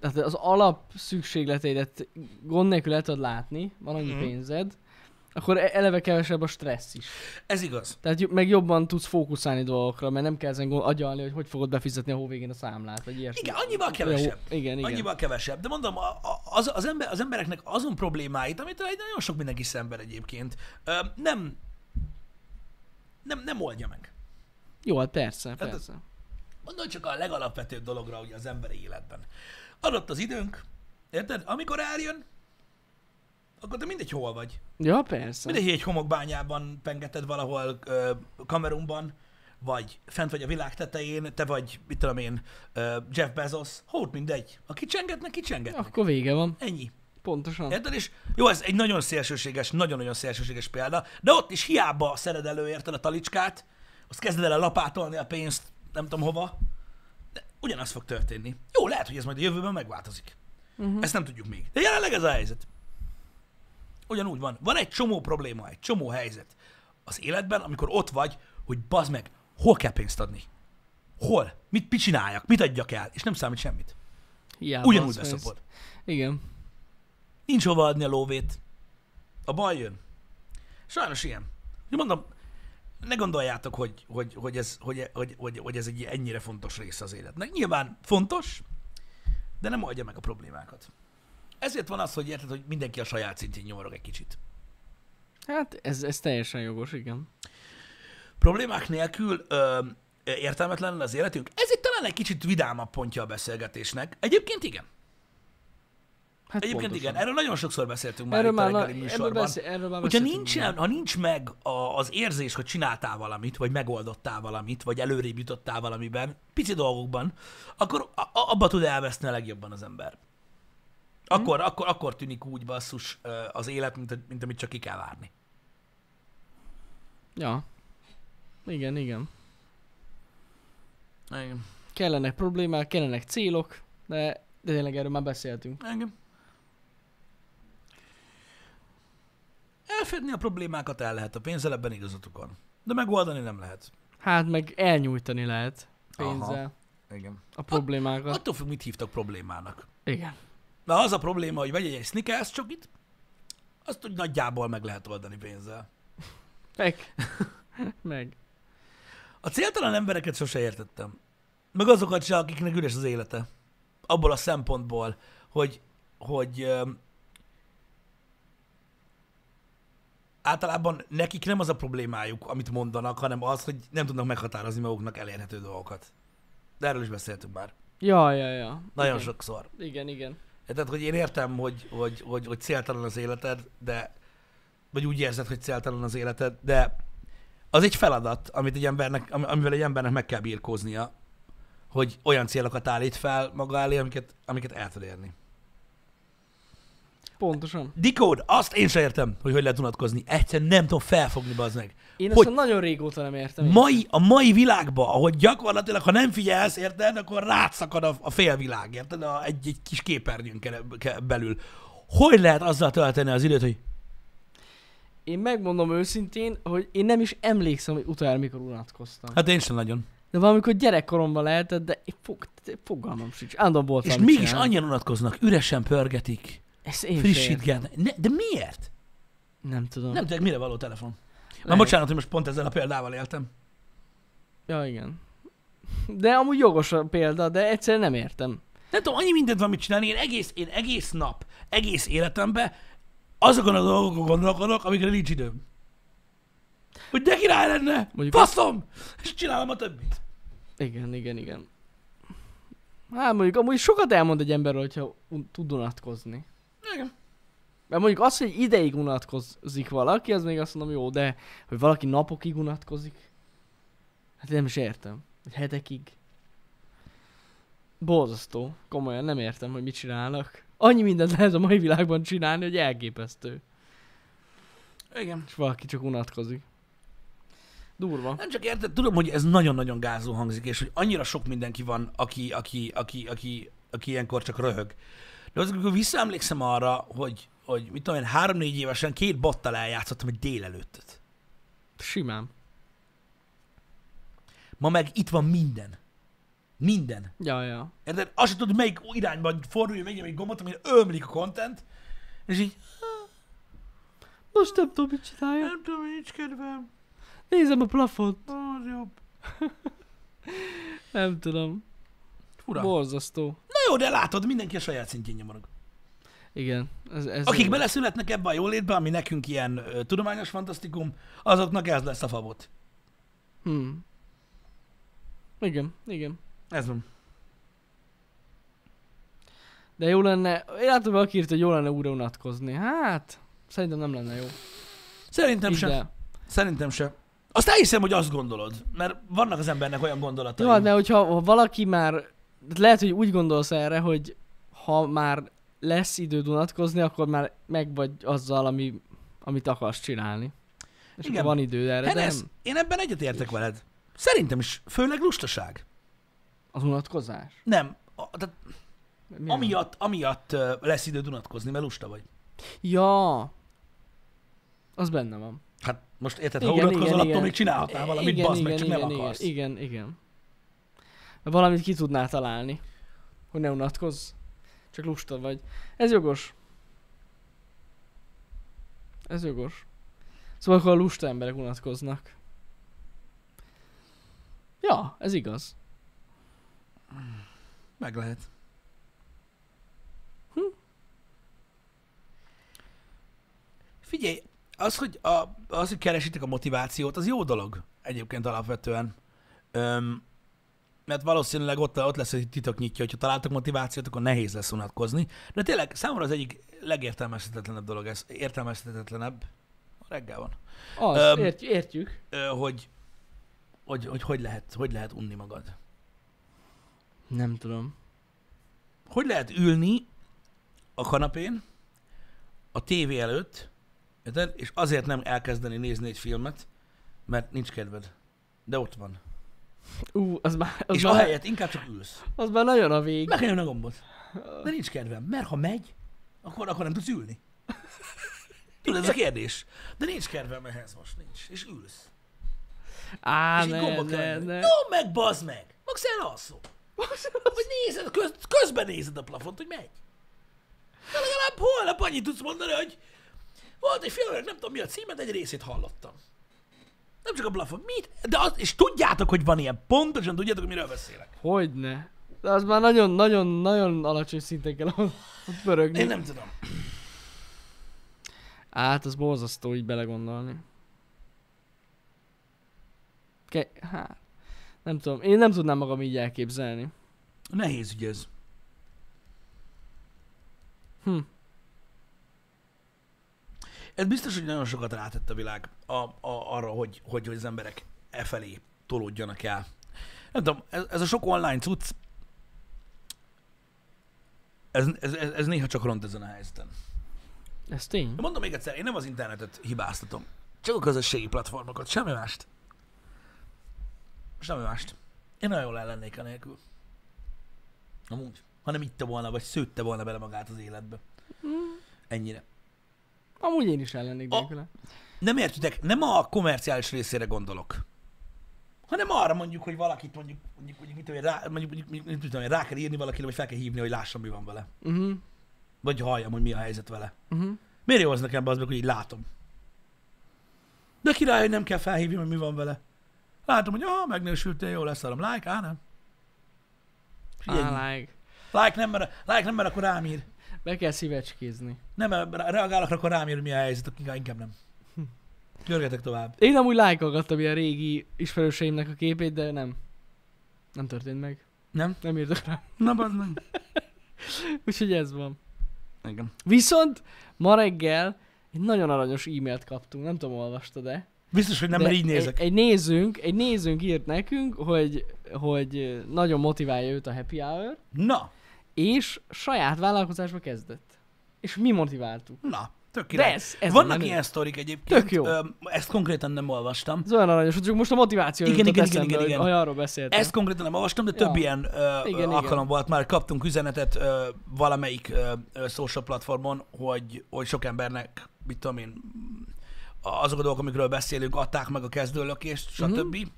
tehát az alap szükségleteidet gond nélkül el tudod látni, van annyi
Mhm.
mm. pénzed, akkor e- eleve kevesebb a stressz is.
Ez igaz.
Tehát jo- meg jobban tudsz fókuszálni dolgokra, mert nem kell ezen gond- agyalni, hogy hogy fogod befizetni a hóvégén a számlát, vagy ilyesmi.
Igen, annyival
Jó,
kevesebb.
igen, igen.
Annyival kevesebb. De mondom, a- a- az, az, ember, az embereknek azon problémáit, amit egy nagyon sok mindenki szenved egyébként, ö, nem, nem, nem oldja meg.
Jó, hát persze,
ez-
persze.
Gondolj csak a legalapvetőbb dologra ugye az emberi életben. Adott az időnk, érted? Amikor eljön, akkor te mindegy hol vagy.
Ja, persze.
Mindegy, hogy egy homokbányában pengeted valahol ö, Kamerunban, vagy fent vagy a világ tetején, te vagy, mit tudom én, ö, Jeff Bezos, hót mindegy. A kicsengetnek, kicsengetnek.
Akkor vége van.
Ennyi.
Pontosan.
Érted? És jó, ez egy nagyon szélsőséges, nagyon-nagyon szélsőséges példa, de ott is hiába szeded elő, érted a talicskát, azt kezded el lapátolni a pénzt, nem tudom hova, de ugyanaz fog történni. Jó, lehet, hogy ez majd a jövőben megváltozik. Uh-huh. Ezt nem tudjuk még. De jelenleg ez a helyzet. Ugyanúgy van. Van egy csomó probléma, egy csomó helyzet az életben, amikor ott vagy, hogy bazd meg, hol kell pénzt adni? Hol? Mit, mit csináljak? Mit adjak el? És nem számít semmit.
Hiába
Ugyanúgy
az pénz.
beszopod.
Igen.
Nincs hova adni a lóvét. A baj jön. Sajnos ilyen. Úgy mondom, ne gondoljátok, hogy, hogy, hogy, ez, hogy, hogy, hogy, hogy ez egy ennyire fontos része az életnek. Nyilván fontos, de nem oldja meg a problémákat. Ezért van az, hogy érted, hogy mindenki a saját szintén nyomorog egy kicsit.
Hát ez, ez teljesen jogos, igen.
Problémák nélkül ö, értelmetlen lenne az életünk? Ez itt talán egy kicsit vidámabb pontja a beszélgetésnek. Egyébként igen.
Hát
Egyébként
pontosan.
igen, erről nagyon sokszor beszéltünk már
Erről
itt a
már, na,
reggeli
erről,
műsorban.
beszél, erről már
Hogyha
beszéltünk
nincs,
már.
ha nincs meg a, az érzés, hogy csináltál valamit, vagy megoldottál valamit, vagy előrébb jutottál valamiben, pici dolgokban, akkor a, a- abba tud elveszni a legjobban az ember. Akkor, akkor, akkor tűnik úgy basszus ö, az élet, mint, mint amit csak ki kell várni.
Ja. Igen, igen.
Igen.
Kellenek problémák, kellenek célok, de, de tényleg erről már beszéltünk.
Igen. Elfedni a problémákat el lehet a pénzzel, ebben igazatok van. De megoldani nem lehet.
Hát meg elnyújtani lehet
Aha.
pénzzel
Igen.
a problémákat.
Attól függ, mit hívtak problémának.
Igen.
Na az a probléma, hogy vegyél egy sneakers csokit, azt úgy nagyjából meg lehet oldani pénzzel.
Meg. meg.
A céltalan embereket sose értettem. Meg azokat se, akiknek üres az élete. Abból a szempontból, hogy, hogy öm, általában nekik nem az a problémájuk, amit mondanak, hanem az, hogy nem tudnak meghatározni maguknak elérhető dolgokat. De erről is beszéltünk már.
Ja, ja, ja.
Nagyon
igen.
sokszor.
Igen, igen.
Tehát, hogy én értem, hogy, hogy, hogy, hogy céltalan az életed, de vagy úgy érzed, hogy céltalan az életed, de az egy feladat, amit egy embernek, ami- amivel egy embernek meg kell birkóznia, hogy olyan célokat állít fel maga elé, amiket, amiket el tud érni.
Pontosan.
Decode, azt én sem értem, hogy hogy lehet unatkozni. Egyszerűen nem tudom felfogni, bazd meg.
Én
Hogy-
ezt nagyon régóta nem értem.
Mai, a mai világban, ahogy gyakorlatilag, ha nem figyelsz, érted, akkor rátszakad a, a félvilág, érted, a, egy, egy kis képernyőn kere- ke- belül. Hogy lehet azzal tölteni az időt, hogy
Én megmondom őszintén, hogy én nem is emlékszem, hogy utoljára mikor unatkoztam.
Hát én sem nagyon.
De valamikor gyerekkoromban lehetett, de én fog, fogalmam sincs. Állandóan volt
És
valamit
mégis
csinálni.
annyian unatkoznak, üresen pörgetik,
Ezt én Frissít.
frissítgen. Ne, de miért?
Nem tudom.
Nem tudják, mire való telefon. Na
Lehet.
bocsánat, hogy most pont ezzel a példával éltem.
Ja, igen. De amúgy jogos a példa, de egyszerűen nem értem.
Nem tudom, annyi mindent van mit csinálni, én egész, én egész nap, egész életemben azokon a dolgokon gondolkodok, amikre nincs időm. Hogy de király lenne,
Mondjuk-
faszom, és csinálom a többit.
Igen, igen, igen. Hát mondjuk amúgy sokat elmond egy ember, hogyha un- tud unatkozni.
Igen.
Mert mondjuk az, hogy ideig unatkozik valaki, az még azt mondom jó, de hogy valaki napokig unatkozik, hát én nem is értem. Hogy hetekig. Borzasztó. Komolyan nem értem, hogy mit csinálnak. Annyi mindent lehet a mai világban csinálni, hogy elképesztő.
Igen.
És valaki csak unatkozik. Durva.
Nem csak érted, tudom, hogy ez nagyon-nagyon gázul hangzik, és hogy annyira sok mindenki van, aki, aki, aki, aki, aki ilyenkor csak röhög. De az, amikor visszaemlékszem arra, hogy, hogy mit tudom én, három-négy évesen két bottal eljátszottam egy délelőttet.
Simán.
Ma meg itt van minden. Minden.
Ja, ja.
Érted? Azt sem tudod, melyik irányban fordulj, megnyom egy gombot, amin ömlik a content, és így,
Most nem tudom, mit csinálja.
nem tudom, nincs kedvem,
Nézem a plafont.
az jobb.
Nem tudom.
Fura. Na
Borzasztó.
jó, de látod, mindenki a saját szintjén nyomorog.
Igen. Ez, ez
Akik
jó.
beleszületnek ebbe a jólétbe, ami nekünk ilyen ö, tudományos fantasztikum, azoknak ez lesz a favot.
Hmm. Igen, igen.
Ez van.
De jó lenne, én látom, hogy valaki írt, hogy jó lenne újra unatkozni. Hát, szerintem nem lenne jó.
Szerintem
Így,
sem.
de-
Szerintem sem. Azt elhiszem, hogy azt gondolod, mert vannak az embernek olyan gondolatai.
Jó, hát, de hogyha ha valaki már, lehet, hogy úgy gondolsz erre, hogy ha már lesz időd unatkozni, akkor már meg vagy azzal, ami, amit akarsz csinálni. És
Igen.
Igen. van időd erre, de
Henesz,
nem
én ebben egyetértek veled. Szerintem is, főleg lustaság.
az unatkozás.
Nem, a, tehát
Mi az?
amiatt, amiatt ö, lesz időd unatkozni, mert lusta vagy.
Ja. Az benne van.
Hát most érted, ha unatkozol, attól még csinálhatnál valamit, igen, bazd meg, csak
E, igen,
nem
igen,
akarsz.
Igen, igen. Valamit ki tudnál találni, hogy ne unatkozz. Csak lusta vagy. Ez jogos. Ez jogos. Szóval akkor a lusta emberek unatkoznak. Ja, ez igaz.
Meg lehet. Hm. Figyelj, az hogy, a, az, hogy keresitek a motivációt, az jó dolog egyébként alapvetően. Ö, Öm, mert valószínűleg ott, ott lesz egy titok nyitja, hogyha találtak motivációt, akkor nehéz lesz unatkozni. De tényleg számomra az egyik legértelmezhetetlenebb dolog ez, értelmezhetetlenebb, reggel van,
Az,
Öm,
ért, értjük.
Ö, hogy hogy, hogy, hogy, lehet, hogy lehet unni magad.
Nem tudom.
Hogy lehet ülni a kanapén, a tévé előtt, érted? és azért nem elkezdeni nézni egy filmet, mert nincs kedved. De ott van.
Ú, az már, az,
és
már,
ahelyett inkább csak ülsz.
az már nagyon a vég.
Megnyomjon a gombot. De nincs kedvem, mert ha megy, akkor, akkor nem tudsz ülni. Tudod, ez a kérdés. De nincs kedvem ehhez most, nincs. És ülsz.
Á,
és így
Hát ne,
gombot
ne,
kell
ne.
Jó, meg bazd meg! Max elalszol. Hogy nézed, köz, közben nézed a plafont, hogy megy. De legalább holnap annyit tudsz mondani, hogy volt egy film, nem tudom mi a címet, egy részét hallottam. Nem csak a plafon, mit? De az, és tudjátok, hogy van ilyen, pontosan tudjátok, hogy miről beszélek.
Hogyne. De az már nagyon, nagyon, nagyon alacsony szinten kell ott ott pörögni.
Én nem tudom.
Hát, az borzasztó így belegondolni. Ke- hát, nem tudom. Én nem tudnám magam így elképzelni.
Nehéz ügy ez.
Hm.
Ez biztos, hogy nagyon sokat rátett a világ a, a, arra, hogy, hogy, hogy az emberek e felé tolódjanak el. Nem tudom, ez, ez a sok online cucc, ez, ez, ez, ez néha csak ront ezen a helyzeten.
Ez tény.
De mondom még egyszer, én nem az internetet hibáztatom. Csak a közösségi platformokat, semmi mást. Semmi mást. Én nagyon jól ellennék a nélkül. Amúgy. Ha nem itte volna, vagy szőtte volna bele magát az életbe. Ennyire.
Amúgy én is ellennék
A-
nélküle.
Nem értitek, nem a komerciális részére gondolok, hanem arra mondjuk, hogy valakit mondjuk, mondjuk, mondjuk, mit tudom, én, rá, mondjuk, mondjuk mit mit tudom, én, rá kell írni valakire, vagy fel kell hívni, hogy lássam, mi van vele.
Mhm.
Vagy halljam, hogy mi a helyzet vele.
Mhm.
Miért jó az nekem be az meg, hogy így látom? De király, hogy nem kell felhívjam, hogy mi van vele. Látom, hogy ah, megnősültél, jó lesz, adom. Like, á, nem. És így ennyi.
Á, like.
Like nem, mert, like nem, mert akkor rám ír.
Be kell szívecskézni.
Nem, mert reagálok, akkor rám ír, hogy mi a helyzet, akkor inkább nem. Görgetek tovább.
Én amúgy lájkolgattam ilyen régi ismerőseimnek a képét, de nem. Nem történt meg.
Nem?
Nem írtak rá.
Na, bazd meg.
Úgyhogy ez van.
Engem.
Viszont ma reggel egy nagyon aranyos e-mailt kaptunk, nem tudom, olvastad-e?
Biztos, hogy nem,
De
mert így nézek.
Egy, egy, nézőnk, egy nézőnk írt nekünk, hogy, hogy nagyon motiválja őt a happy hour,
Na,
és saját vállalkozásba kezdett. És mi motiváltuk.
na, tök
De
király.
ez, ez a
Vannak
menő.
ilyen sztorik egyébként.
Tök jó.
Ö, ezt konkrétan nem olvastam.
Ez olyan aranyos, hogy csak most a motiváció
Igen,
jutott
igen, igen,
eszembe,
igen,
hogy-
igen.
hogy arról beszéltem.
Ezt konkrétan nem olvastam, de több
Ja.
ilyen ö,
Igen,
igen,
igen.
alkalom volt már. Kaptunk üzenetet ö, valamelyik ö, ö, social platformon, hogy, hogy sok embernek, mit tudom én, a- azok a dolgok, amikről beszélünk, adták meg a kezdőlökést, stb. Mm-hmm.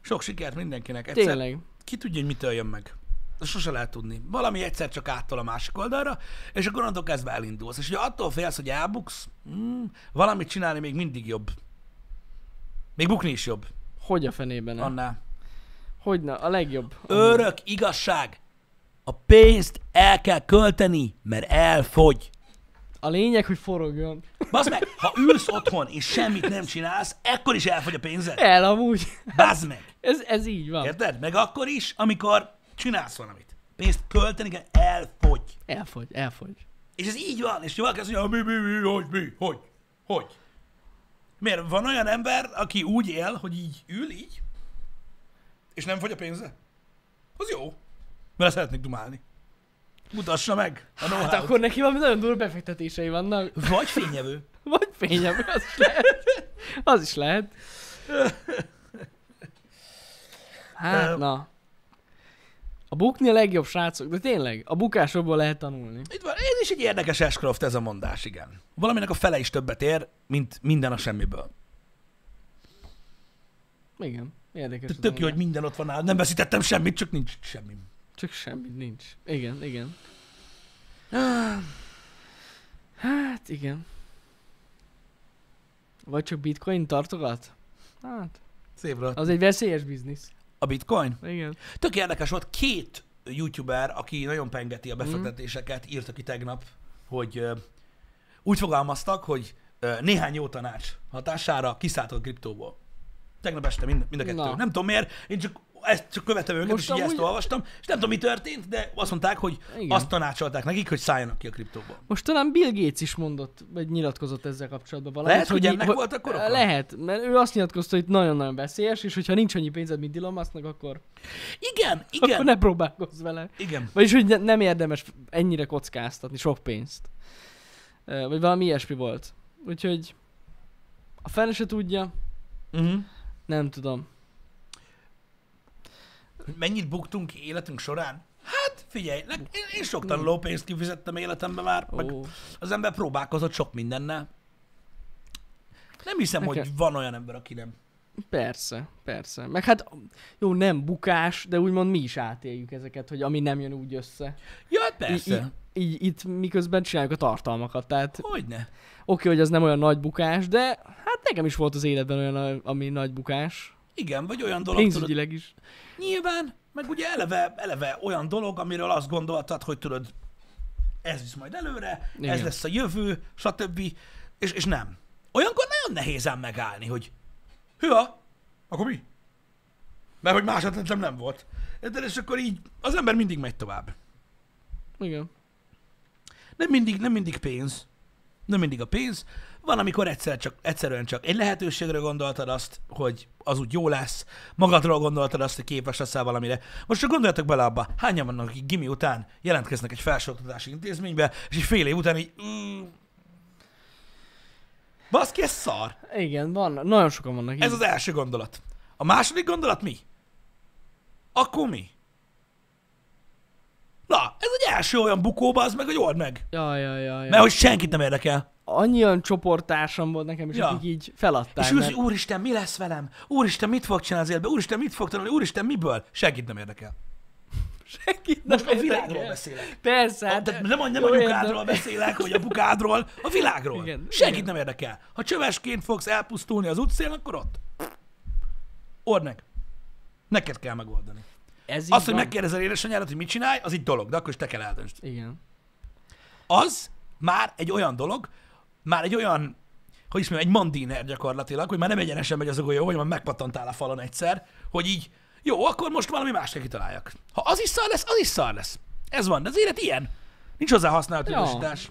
Sok sikert mindenkinek. Egyszer,
Mhm. Tényleg.
ki tudja, hogy mitől jön meg. Azt Sose lehet tudni. Valami egyszer csak áttol a másik oldalra, és akkor onnantól kezdve elindulsz. És ugye attól félsz, hogy elbuksz, mm, valamit csinálni még mindig jobb. Még bukni is jobb.
Hogy a fenében nem?
Annál.
Hogyne, a legjobb.
Örök igazság. A pénzt el kell költeni, mert elfogy.
A lényeg, hogy forogjon.
Bazd meg, ha ülsz otthon és semmit nem csinálsz, ekkor is elfogy a pénzed.
El amúgy.
Bazd meg.
Ez, ez így van.
Érted? Meg akkor is, amikor csinálsz valamit. Pénzt költeni kell, elfogy.
Elfogy, elfogy.
És ez így van, és valaki azt mondja, mi, mi, mi, hogy, mi, hogy, hogy. Miért? Van olyan ember, aki úgy él, hogy így ül, így, és nem fogy a pénze? Az jó. Mert szeretnék dumálni. Mutassa meg a
Hát
know
akkor neki valami nagyon durva befektetései vannak.
Vagy fényevő.
Vagy fényem, az is lehet. Az is lehet. Hát, na. A bukni a legjobb, srácok. De tényleg, a bukásokból lehet tanulni.
Itt van, ez is egy érdekes Ashcroft ez a mondás, igen. Valaminek a fele is többet ér, mint minden a semmiből.
Igen, érdekes.
Tök,
az
tök jó,
ember.
hogy minden ott van nálam. Nem veszítettem semmit, csak nincs semmi.
Csak semmit nincs. Igen, igen. Hát igen. Vagy csak bitcoin tartogat? Hát,
Szép volt.
az egy veszélyes biznisz.
A bitcoin?
Igen.
Tök érdekes volt, két youtuber, aki nagyon pengeti a
Mhm.
befektetéseket, mm. írtak ki tegnap, hogy ö, úgy fogalmaztak, hogy ö, néhány jó tanács hatására kiszálltak a kriptóból. Tegnap este mind, mind a kettő.
Na.
Nem tudom miért, én csak ezt csak követem őket,
Most
és így ezt
amúgy-
olvastam, és nem tudom, mi történt, de azt mondták, hogy
Igen.
azt tanácsolták nekik, hogy szálljanak ki a kriptóból.
Most talán Bill Gates is mondott, vagy nyilatkozott ezzel kapcsolatban valamit.
Lehet, hogy ennek volt akkor oka?
Lehet, mert ő azt nyilatkozta, hogy nagyon-nagyon veszélyes, és hogyha nincs annyi pénzed, mint Elon Musknak, akkor,
Igen, igen,
akkor ne próbálkozz vele.
igen.
Vagyis, hogy ne, nem érdemes ennyire kockáztatni sok pénzt. Ö, Vagy valami ilyesmi volt. Úgyhogy a fene se tudja,
Uh-huh.
nem tudom.
Mennyit buktunk ki életünk során? Hát figyelj, leg- én, én sok tanulópénzt kifizettem életemben már, meg
Ó,
az ember próbálkozott sok mindennel. Nem hiszem,
Nekem-
hogy van olyan ember, aki nem.
persze, persze. Meg hát jó, nem bukás, de úgymond mi is átéljük ezeket, hogy ami nem jön úgy össze.
Ja, hát
Í-
persze.
Így, így, itt miközben csináljuk a tartalmakat, tehát
Hogyne.
oké, hogy az nem olyan nagy bukás, de hát nekem is volt az életben olyan, ami nagy bukás.
Igen, vagy olyan dolog, tudod,
Pénzügyileg is.
nyilván, meg ugye eleve, eleve olyan dolog, amiről azt gondoltad, hogy tudod, ez visz majd előre, Igen. ez
Igen.
lesz a jövő, stb. És, és nem. Olyankor nagyon nehéz ám megállni, hogy hűha, akkor mi? Mert hogy más ötletem nem volt. De és akkor így az ember mindig megy tovább.
Igen.
Nem mindig, nem mindig pénz. Nem mindig a pénz. Van, amikor egyszer csak, egyszerűen csak egy lehetőségre gondoltad azt, hogy az úgy jó lesz, magadról gondoltad azt, hogy képes leszel valamire. Most csak gondoljatok bele abba, hányan vannak, akik gimi után jelentkeznek egy felsőoktatási intézménybe, és egy fél év után így... Mm, baszki, ez szar!
Igen, van, nagyon sokan vannak így.
Ez az első gondolat. A második gondolat mi? Akkor mi? Na, ez egy első olyan bukóba, az meg, hogy old meg.
Ja, ja, ja, ja.
Mert hogy senkit nem érdekel.
Annyi olyan csoporttársam volt nekem is,
Ja.
ja. akik így feladták.
És mert... úristen, mi lesz velem? Úristen, mit fog csinálni az életben? Úristen, mit fog tanulni? Úristen, miből? Senkit nem érdekel.
senki
Most a világról beszélek.
Persze,
Hát,
hát,
de nem, a- nem
jó,
a
értem.
nyukádról beszélek, vagy a bukádról, a világról.
Igen,
Senkit
igen.
nem érdekel. Ha csövesként fogsz elpusztulni az utcán, akkor ott. Ord meg. Neked kell megoldani.
Ez így
Azt, hogy
van.
megkérdezel édesanyádat, hogy mit csinálj, az egy dolog, de akkor is te kell eldöntsd.
Igen.
az már egy olyan dolog, már egy olyan, hogy is mondjam, egy mandiner gyakorlatilag, hogy már nem egyenesen megy az a golyó, hogy már megpatantál a falon egyszer, hogy így, jó, akkor most valami másra kitaláljak. Ha az is szar lesz, az is szar lesz. Ez van, de az élet ilyen. Nincs hozzá használati
Ja.
utasítás.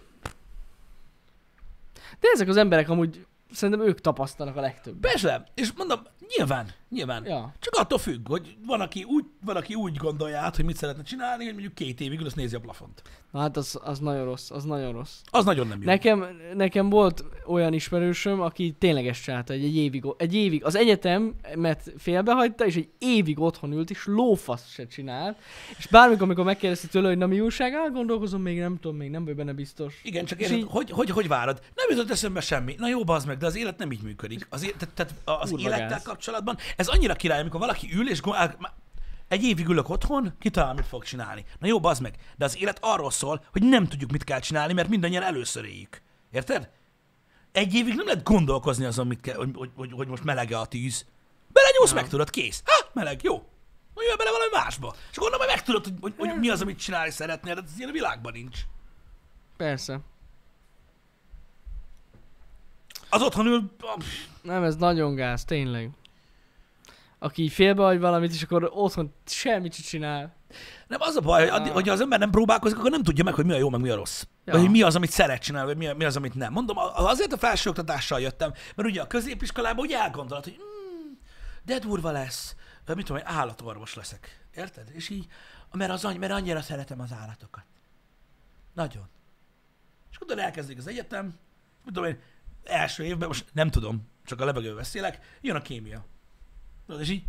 De ezek az emberek amúgy szerintem ők tapasztalnak a legtöbbet.
Persze, és mondom, nyilván, nyilván.
Ja.
Csak attól függ, hogy van aki, úgy, van, aki úgy gondolja át, hogy mit szeretne csinálni, hogy mondjuk két évig ül, azt nézi a plafont.
Na hát az, az nagyon rossz, az nagyon rossz.
Az nagyon nem jó.
Nekem, nekem volt olyan ismerősöm, aki tényleg ezt csinálta, egy, egy, évig, egy évig az egyetemet félbehagyta, és egy évig otthon ült, és lófasz se csinált. És bármikor, amikor megkérdezte tőle, hogy na mi újság, á, gondolkozom, még nem tudom, még nem vagy benne biztos.
Igen, csak
És
érted,
így-
hogy, hogy, hogy várod? Nem jutott eszembe semmi. Na jó, bazd meg, de az élet nem így működik. Az, élet, tehát- tehát az
Kurva
élettel
gáz.
kapcsolatban ez annyira király, amikor valaki ül és gond- már egy évig ülök otthon, kitalál, mit fog csinálni. Na jó, bazd meg, de az élet arról szól, hogy nem tudjuk, mit kell csinálni, mert mindannyian először éljük. Érted? Egy évig nem lehet gondolkozni azon, mit kell, hogy, hogy, hogy, hogy most melege a tűz. Belenyúlsz, meg tudod, kész. Ha, meleg, jó. Na jöjj bele valami másba. És gondolom, hogy megtudod, hogy, hogy, hogy mi az, amit csinálni szeretnél, de ez ilyen a világban nincs.
Persze.
Az otthon ül,
Nem, ez nagyon gáz, tényleg. Aki így félbehagy valamit, és akkor otthon semmit se csinál.
Nem, az a baj, hogy, addig,
Ah.
hogyha az ember nem próbálkozik, akkor nem tudja meg, hogy mi a jó, meg mi a rossz. Ja. Vagy
Ja.
hogy mi az, amit szeret csinálni, vagy mi, a- mi az, amit nem. Mondom, a- azért a felsőoktatással jöttem, mert ugye a középiskolában úgy elgondolod, hogy mm, de durva lesz, vagy mit tudom, én, állatorvos leszek. Érted? És így, mert, az, any- mert annyira szeretem az állatokat. Nagyon. És akkor utána elkezdik az egyetem, mit tudom én, első évben, most nem tudom, csak a levegővel beszélek, jön a kémia. Tudod, És így,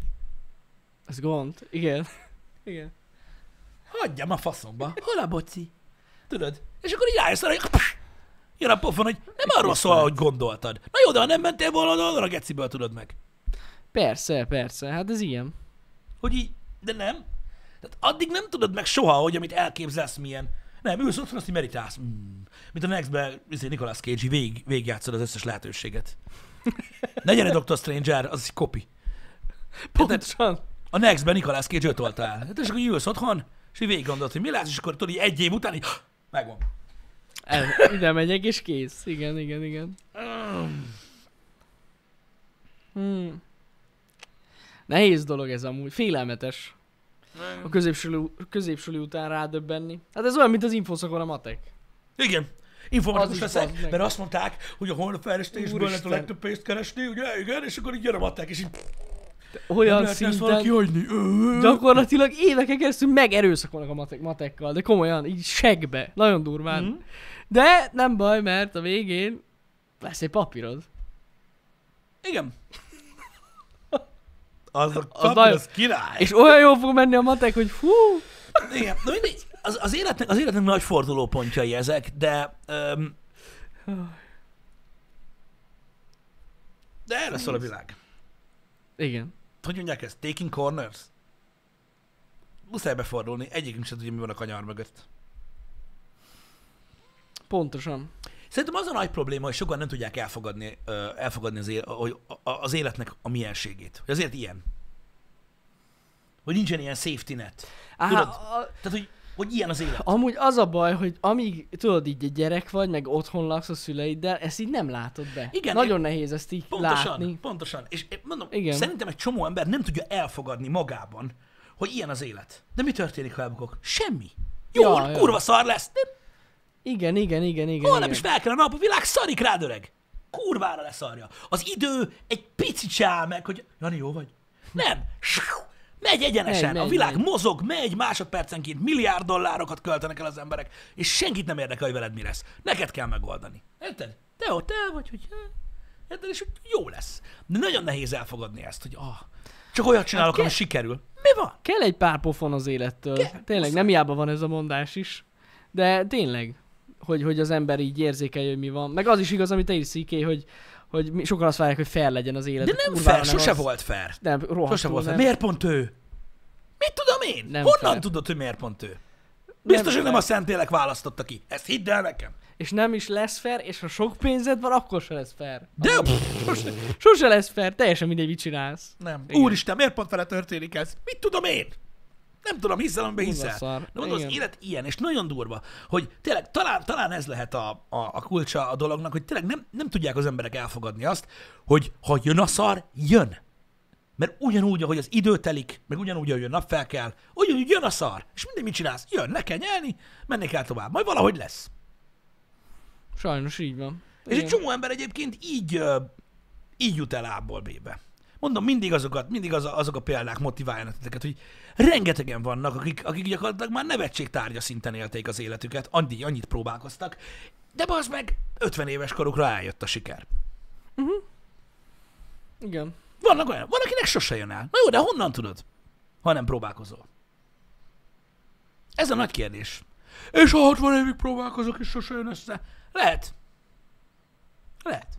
Ez gond. Igen. Igen.
Hagyjam a faszomba. Hol a boci? Tudod? És akkor így rájössz arra, hogy pff, jön a pofon, hogy nem arról szól, ahogy gondoltad. Na jó, de ha nem mentél volna, oda, oda a geciből tudod meg.
Persze, persze, hát ez ilyen.
Hogy így, de nem. Tehát addig nem tudod meg soha, hogy amit elképzelsz, milyen. Nem, ülsz otthon, azt így meditálsz. Mm. Mint a Next-ben, izé Nicolas Cage, így végig, végigjátszod az összes lehetőséget. Ne gyere Dr. Stranger, az egy kopi.
Pontosan.
A Next-ben Nicolas Cage ötolta el. Hát és akkor így ülsz otthon, és így végig gondolod, hogy mi lesz, és akkor tudod, így egy év után így, megvan.
El, ide megyek és kész. Igen, igen, igen.
Mm.
Hmm. Nehéz dolog ez amúgy, félelmetes a középsuli, középsuli után rádöbbenni. Hát ez olyan, mint az infoszakon a matek.
Igen.
Az
Informatikus
is
leszek,
bazd meg.
mert azt mondták, hogy a holnapfejlesztésből lehet a
Úristen.
legtöbb pénzt keresni, ugye, igen, és akkor így jön a matek, és így
Olyan
lehetne ezt valaki
szinten
hagyni. Ö,
gyakorlatilag éveken keresztül megerőszakolnak a matek, matekkal, de komolyan, így segbe, nagyon durván.
Mhm.
De nem baj, mert a végén lesz egy papírod.
Igen. Az a
Az
kapja,
nagyon-
az király.
És olyan jól fog menni a matek, hogy fú,
Igen, na mindegy, az, az, életnek, az életnek nagy fordulópontjai ezek, de... Öm, de erre szól a világ.
igen.
Hogy mondják ezt? Taking corners? Muszáj befordulni, egyikünk sem tudja, mi van a kanyar mögött.
Pontosan.
Szerintem az a nagy probléma, hogy sokan nem tudják elfogadni, ö, elfogadni az, él, hogy a- a- az életnek a mienségét. Hogy azért ilyen. Hogy nincsen ilyen safety net.
Á,
Tudod?
a,
Tehát, hogy, hogy ilyen az élet.
amúgy az a baj, hogy amíg tudod így egy gyerek vagy, meg otthon laksz a szüleiddel, ezt így nem látod be.
Igen,
Nagyon nehéz ezt így
Pontosan,
látni.
pontosan. És én mondom,
Igen.
Igen. szerintem egy csomó ember nem tudja elfogadni magában, hogy ilyen az élet. De mi történik, ha elbukok? Semmi. Jó,
Ja,
ja,
ja.
kurva szar lesz. De
Igen, igen, igen, igen.
holnap
igen.
is fel kell a nap, a világ szarik rád, öreg. Kurvára leszarja. Az idő egy picit se áll meg, hogy Jani, jó vagy? Nem. Siu. Megy egyenesen.
Megy, megy,
a világ
megy.
mozog, megy másodpercenként, milliárd dollárokat költenek el az emberek, és senkit nem érdekel, hogy veled mi lesz. Neked kell megoldani. Érted? Te ott el vagy, hogy... hát, Érted? És hogy jó lesz. De nagyon nehéz elfogadni ezt, hogy ah, csak olyat csinálok,
kell-
ami sikerül. Mi van?
Kell egy pár pofon az élettől.
Kell,
tényleg,
muszáj.
nem hiába van ez a mondás is. De tényleg, hogy, hogy az ember így érzékelje, hogy mi van. Meg az is igaz, amit te is sziké, hogy, hogy mi- sokan azt várják, hogy fair legyen az élet.
De nem
Kurvára
fair, sose
az.
volt fair.
Nem, rohadtul
Sose volt
nem.
fel. Miért pont ő? Mit tudom én?
Nem
Nem Honnan
fel.
fel. tudod, hogy miért pont ő? Biztos, nem hogy nem
fel.
a Szentlélek választotta ki. Ezt hidd el nekem.
És nem is lesz fair, és ha sok pénzed van, akkor se lesz fair.
De pff, sose.
Sose lesz fair, teljesen mindegy, mit csinálsz.
Nem.
Igen.
Igen. Úristen, miért pont vele történik ez? Mit tudom én? Nem tudom, hiszel, amiben
Kurva
hiszel.
szar.
De mondom, az
Igen.
élet ilyen, és nagyon durva, hogy tényleg talán, talán ez lehet a, a, a kulcsa a dolognak, hogy tényleg nem, nem tudják az emberek elfogadni azt, hogy ha jön a szar, jön. Mert ugyanúgy, ahogy az idő telik, meg ugyanúgy, ahogy a nap fel kell, ugyanúgy jön a szar, és mindig mit csinálsz? Jön, ne kell nyelni, menni kell tovább, majd valahogy lesz.
Sajnos így van.
És egy csomó ember egyébként így, ö, így jut el A-ból B-be. Mondom, mindig azokat, mindig az a, azok a példák motiváljanak titeket, hogy rengetegen vannak, akik, akik gyakorlatilag már nevetség tárgya szinten élték az életüket, annyi, annyit próbálkoztak, de az meg 50 éves korukra eljött a siker.
Igen.
Vannak olyan, van, akinek sose jön el. Na jó, de honnan tudod, ha nem próbálkozol? Ez a nagy kérdés. És ha 60 évig próbálkozok, és sose jön össze? Lehet. Lehet.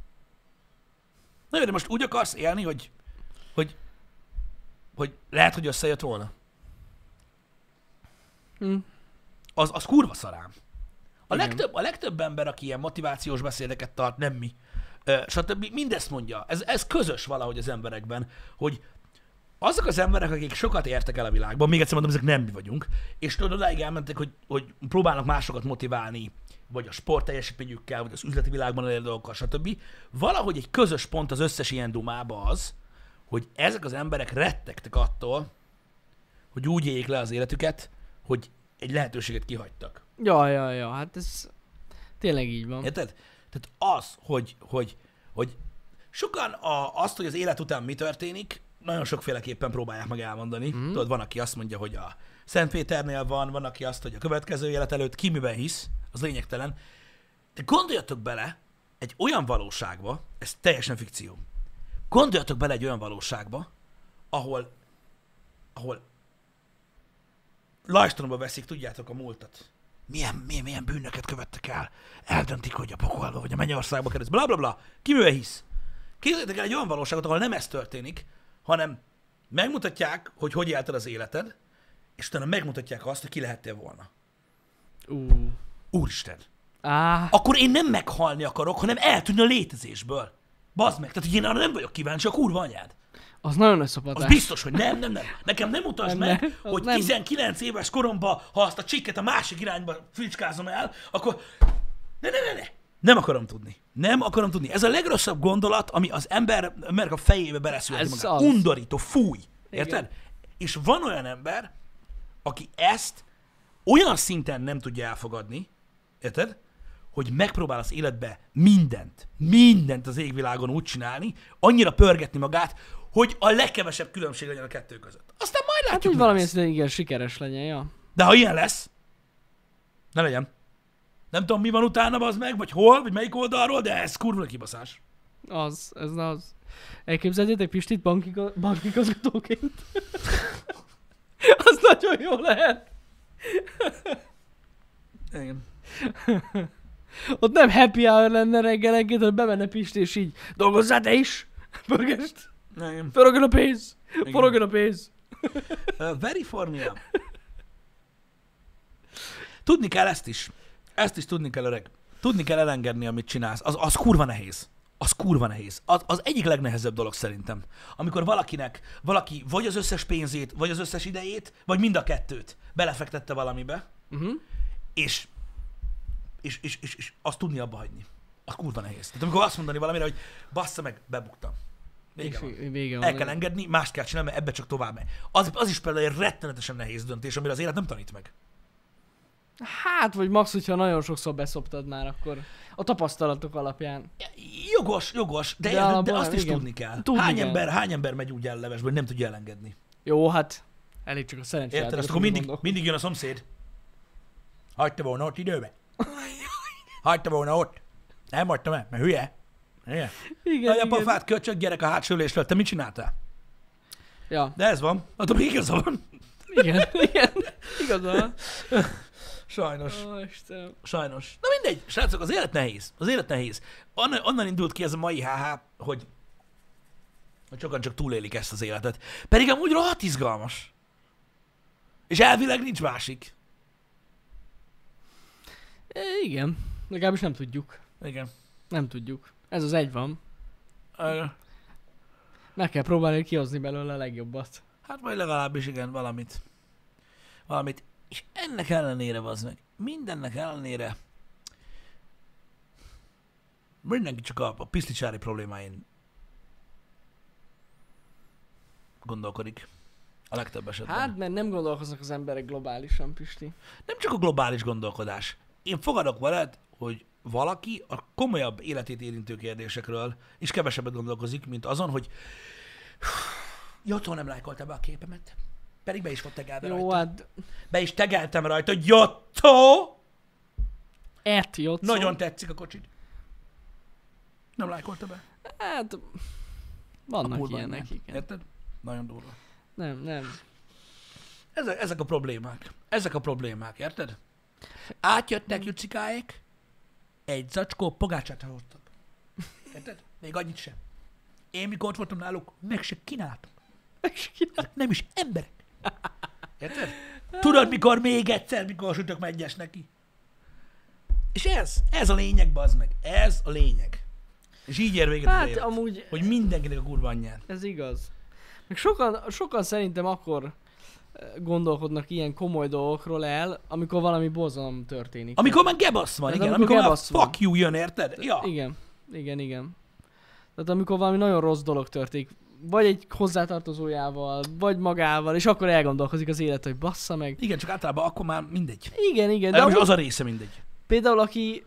Na jó, de most úgy akarsz élni, hogy, hogy, hogy lehet, hogy összejött volna?
Hm.
Az, az kurva szarám. A
Igen.
legtöbb, a legtöbb ember, aki ilyen motivációs beszédeket tart, nem mi, ö, stb. mindezt mondja. Ez, ez közös valahogy az emberekben, hogy azok az emberek, akik sokat értek el a világban, még egyszer mondom, ezek nem mi vagyunk, és tudod, odáig elmentek, hogy, hogy próbálnak másokat motiválni, vagy a sport teljesítményükkel, vagy az üzleti világban elérő dolgokkal, stb. Valahogy egy közös pont az összes ilyen dumába az, hogy ezek az emberek rettegtek attól, hogy úgy éljék le az életüket, hogy egy lehetőséget kihagytak.
Ja, ja, ja, hát ez tényleg így van.
Érted? Tehát az, hogy, hogy, hogy sokan a, azt, hogy az élet után mi történik, nagyon sokféleképpen próbálják meg elmondani. Mm. Tudod, van, aki azt mondja, hogy a Szentpéternél van, van, aki azt, hogy a következő élet előtt ki miben hisz, az lényegtelen. De gondoljatok bele egy olyan valóságba, ez teljesen fikció, gondoljatok bele egy olyan valóságba, ahol, ahol lajstromba veszik, tudjátok, a múltat. Milyen, milyen, milyen bűnöket követtek el. Eldöntik, hogy a pokolba vagy a mennyországba kerül. Bla, bla, bla. Ki mivel hisz? Képzeljétek el egy olyan valóságot, ahol nem ez történik, hanem megmutatják, hogy hogy élted az életed, és utána megmutatják azt, hogy ki lehettél volna.
Ú.
Úristen!
Á,
Akkor én nem meghalni akarok, hanem eltűnni a létezésből. Bazd meg, tehát hogy én arra nem vagyok kíváncsi, a kurva anyád.
az nagyon
Az
összopatás.
biztos, hogy nem, nem, nem. Nekem nem utasd
Nem,
meg,
nem, az
hogy
nem.
19 éves koromban, ha azt a csikket a másik irányba fricskázom el, akkor... Ne, ne, ne, ne! Nem akarom tudni. Nem akarom tudni. Ez a legrosszabb gondolat, ami az ember, emberek a fejébe beleszülheti
Ez
magát.
az.
Undorító, fúj. Érted? És van olyan ember, aki ezt olyan szinten nem tudja elfogadni, érted? Hogy megpróbál az életbe mindent, mindent az égvilágon úgy csinálni, annyira pörgetni magát, hogy a legkevesebb különbség legyen a kettő között. Aztán majd
Hát
látjuk,
úgy
mi
valamilyen
lesz.
szinten igen, sikeres legyen, ja.
De ha ilyen lesz, ne legyen. Nem tudom, mi van utána, az meg, vagy hol, vagy melyik oldalról, de ez kurva kibaszás.
Az, ez az. Elképzeljétek Pistit bankiga- bankigazgatóként. az nagyon jó lehet.
Igen.
Ott nem happy hour lenne reggelenként, hogy bemenne Pisti és így dolgozzál te is. Pörgest.
Igen.
Forogjon a pénz.
Igen.
Forogjon a pénz.
Uh, Veriformia. Tudni kell ezt is. Ezt is tudni kell, öreg. Tudni kell elengedni, amit csinálsz. Az, az kurva nehéz. Az kurva nehéz. Az, az egyik legnehezebb dolog szerintem. Amikor valakinek, valaki vagy az összes pénzét, vagy az összes idejét, vagy mind a kettőt belefektette valamibe,
Uh-huh.
és, és, és, és, és azt tudni abba hagyni. Az kurva nehéz. Tehát amikor azt mondani valamire, hogy bassza meg, bebuktam. Vége
És
van.
í- vége van.
El kell engedni, mást kell csinálni, mert ebbe csak tovább megy. Az, az is például egy rettenetesen nehéz döntés, amire az élet nem tanít meg.
Hát, vagy max, hogyha nagyon sokszor beszoptad már, akkor a tapasztalatok alapján.
Jogos, jogos, de,
De
de, de
alapból
azt is
igen.
tudni kell.
Tudni
hány,
kell.
Ember, hány ember megy úgy ellevesbe, hogy nem tudja elengedni?
Jó, hát elég csak a szerencsét.
Érted? Azt akkor mindig, mindig jön a szomszéd. Hagyta volna ott időbe. Hagyta volna ott. Nem hagytam el, mert hülye. hülye.
Igen,
Nagy a
igen.
pofát, köcsög, gyerek a hátsó ülésről. Te mit csináltál?
Ja,
De ez van. Adom, igaza van.
igen, igen. Igazán.
Sajnos.
Ó, Istenem.
Sajnos. Na mindegy, srácok, az élet nehéz. Az élet nehéz. Onnan, onnan indult ki ez a mai HH, hogy, hogy sokan csak túlélik ezt az életet. Pedig amúgy rohadt izgalmas. És elvileg nincs másik.
E, igen. Legalábbis nem tudjuk.
Igen.
Nem tudjuk. Ez az egy van.
Ö,
Meg kell próbálni kihozni belőle a legjobbat.
Hát majd legalábbis igen, valamit. Valamit. És ennek ellenére, az meg, mindennek ellenére mindenki csak a, a piszlicsári problémáin gondolkodik. A legtöbb esetben.
Hát, mert nem gondolkoznak az emberek globálisan, Pisti.
nem csak a globális gondolkodás. Én fogadok veled, hogy valaki a komolyabb életét érintő kérdésekről is kevesebbet gondolkozik, mint azon, hogy Jotó nem lájkolta be a képemet. Pedig be is volt tegelve
Jó,
rajta.
hát...
Be is tegeltem rajta. Jotó!
Et, Jocó.
Nagyon tetszik a kocsid. Szóval- Nem lájkolta be.
Hát... Vannak
Kurva
ilyenek,
anyád.
igen.
Érted? Nagyon durva.
Nem, nem.
Ezek, ezek a problémák. Ezek a problémák, érted? Átjöttek Jucikáék, egy zacskó pogácsát hoztak. Érted? Még annyit sem. Én mikor ott voltam náluk, meg se kínáltam. Ezek Hát nem is emberek. Érted? Tudod, mikor még egyszer, mikor sütök megyes neki. És ez, ez a lényeg, bazd meg. Ez a lényeg. És így ér véget hát,
Hát,
élet,
amúgy...
hogy mindenkinek a kurva anyját.
Ez igaz. Meg sokan, sokan szerintem akkor eh, gondolkodnak ilyen komoly dolgokról el, amikor valami borzalom történik.
Amikor már gebasz van,
Hát,
igen.
amikor
Amikor, amikor már
gebasz van.
fuck you jön, érted? Ja.
Igen, igen, igen. Tehát amikor valami nagyon rossz dolog történik, vagy egy hozzátartozójával, vagy magával, és akkor elgondolkozik az élet, hogy bassza meg.
Igen, csak általában akkor már mindegy.
Igen, igen,
De
de
most
amúgy-
az a része mindegy.
Például aki,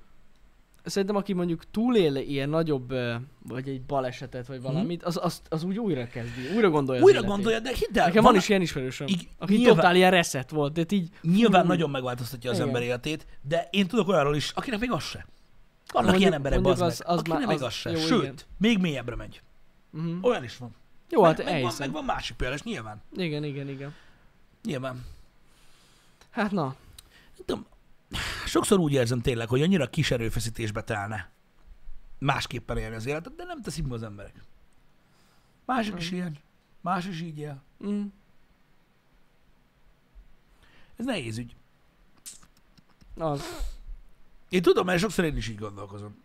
szerintem aki mondjuk túlél ilyen nagyobb, ö, vagy egy balesetet, vagy valamit, az, az, az úgy újra kezdi, újra gondolja
Mhm.
az
Újra
életét.
gondolja, de hidd el,
Nekem van is ilyen ismerősöm,
Ig-
aki
nyilván-
totál ilyen reset volt, de így
nyilván
Fú.
nagyon megváltoztatja az
Igen.
ember életét, de én tudok olyanról is, akinek még az se. Vannak
Mondjuk-
ilyen emberek,
mondjuk
bazd meg,
az- az
akinek
már-
még az,
az-
se.
jó,
Sőt,
igen.
még mélyebbre megy.
Mhm.
Olyan is van.
Jó, hát
meg, meg, van,
elhiszem.
meg van másik példa, és nyilván.
Igen, igen, igen.
Nyilván.
Hát na,
Nem tudom, sokszor úgy érzem tényleg, hogy annyira kis erőfeszítésbe telne másképpen élni az életet, de nem teszik meg az emberek. Mások is ilyen. Más is így él.
mm,
Ez nehéz ügy.
az.
Én tudom, mert sokszor én is így gondolkozom.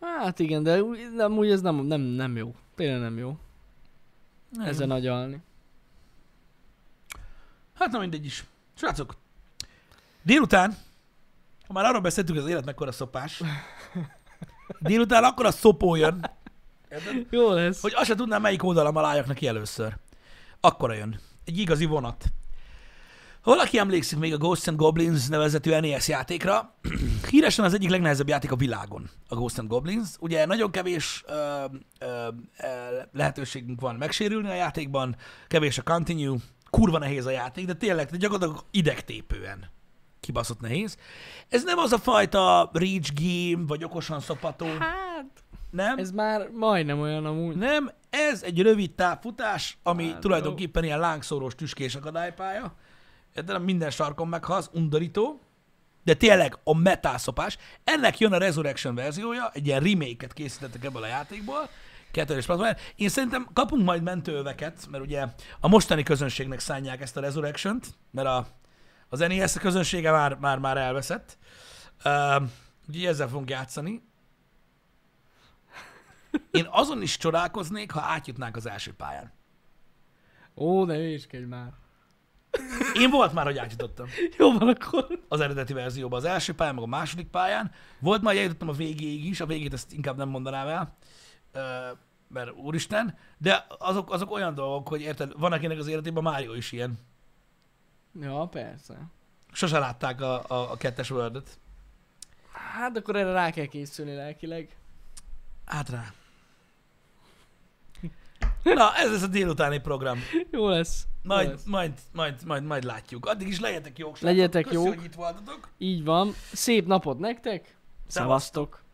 Hát igen, de úgy- nem, úgy ez nem, nem, nem jó. Tényleg nem jó
Nem.
nem. ezen agyalni.
Hát na mindegy is. Srácok, délután, ha már arról beszéltünk, hogy az élet mekkora szopás, délután akkor a szopó jön, Érted?
Jó lesz.
Hogy azt se tudnám, melyik oldalam alá álljak neki először. Akkora jön. Egy igazi vonat. Ha valaki emlékszik még a Ghosts and Goblins nevezetű NES játékra, híresen az egyik legnehezebb játék a világon, a Ghosts and Goblins. Ugye nagyon kevés ö, ö, ö, lehetőségünk van megsérülni a játékban, kevés a continue, kurva nehéz a játék, de tényleg de gyakorlatilag idegtépően kibaszott nehéz. Ez nem az a fajta reach game, vagy okosan szopató,
Hát,
nem?
ez már majdnem olyan amúgy.
Nem, ez egy rövid távfutás, ami
Hát,
tulajdonképpen ilyen lángszórós tüskés akadálypálya. Értelem, minden sarkon meghalsz, undorító. De tényleg a metászopás. Ennek jön a Resurrection verziója, egy ilyen remake-et készítettek ebből a játékból. Kettős platform. Én szerintem kapunk majd mentőöveket, mert ugye a mostani közönségnek szánják ezt a Resurrection-t, mert a, az NES közönsége már, már, már elveszett. Uh, úgyhogy ezzel fogunk játszani. Én azon is csodálkoznék, ha átjutnánk az első pályán.
Ó, ne hülyéskedj már.
Én volt már, hogy átjutottam
Jó van akkor.
az eredeti verzióban. Az első pályán, meg a második pályán. Volt már, hogy eljutottam a végéig is, a végét ezt inkább nem mondanám el, ö, mert úristen, de azok, azok olyan dolgok, hogy érted, van akinek az életében Mário is ilyen.
Ja, persze.
Sose látták a, a, a kettes world -et.
Hát akkor erre rá kell készülni lelkileg.
Hát rá. Na, ez lesz a délutáni program.
Jó lesz. Jó
Majd,
lesz.
majd, majd, majd, majd látjuk. Addig is legyetek jók. srácok.
Legyetek
Köszi,
jók.
hogy itt voltatok.
Így van. Szép napot nektek. Szevasztok.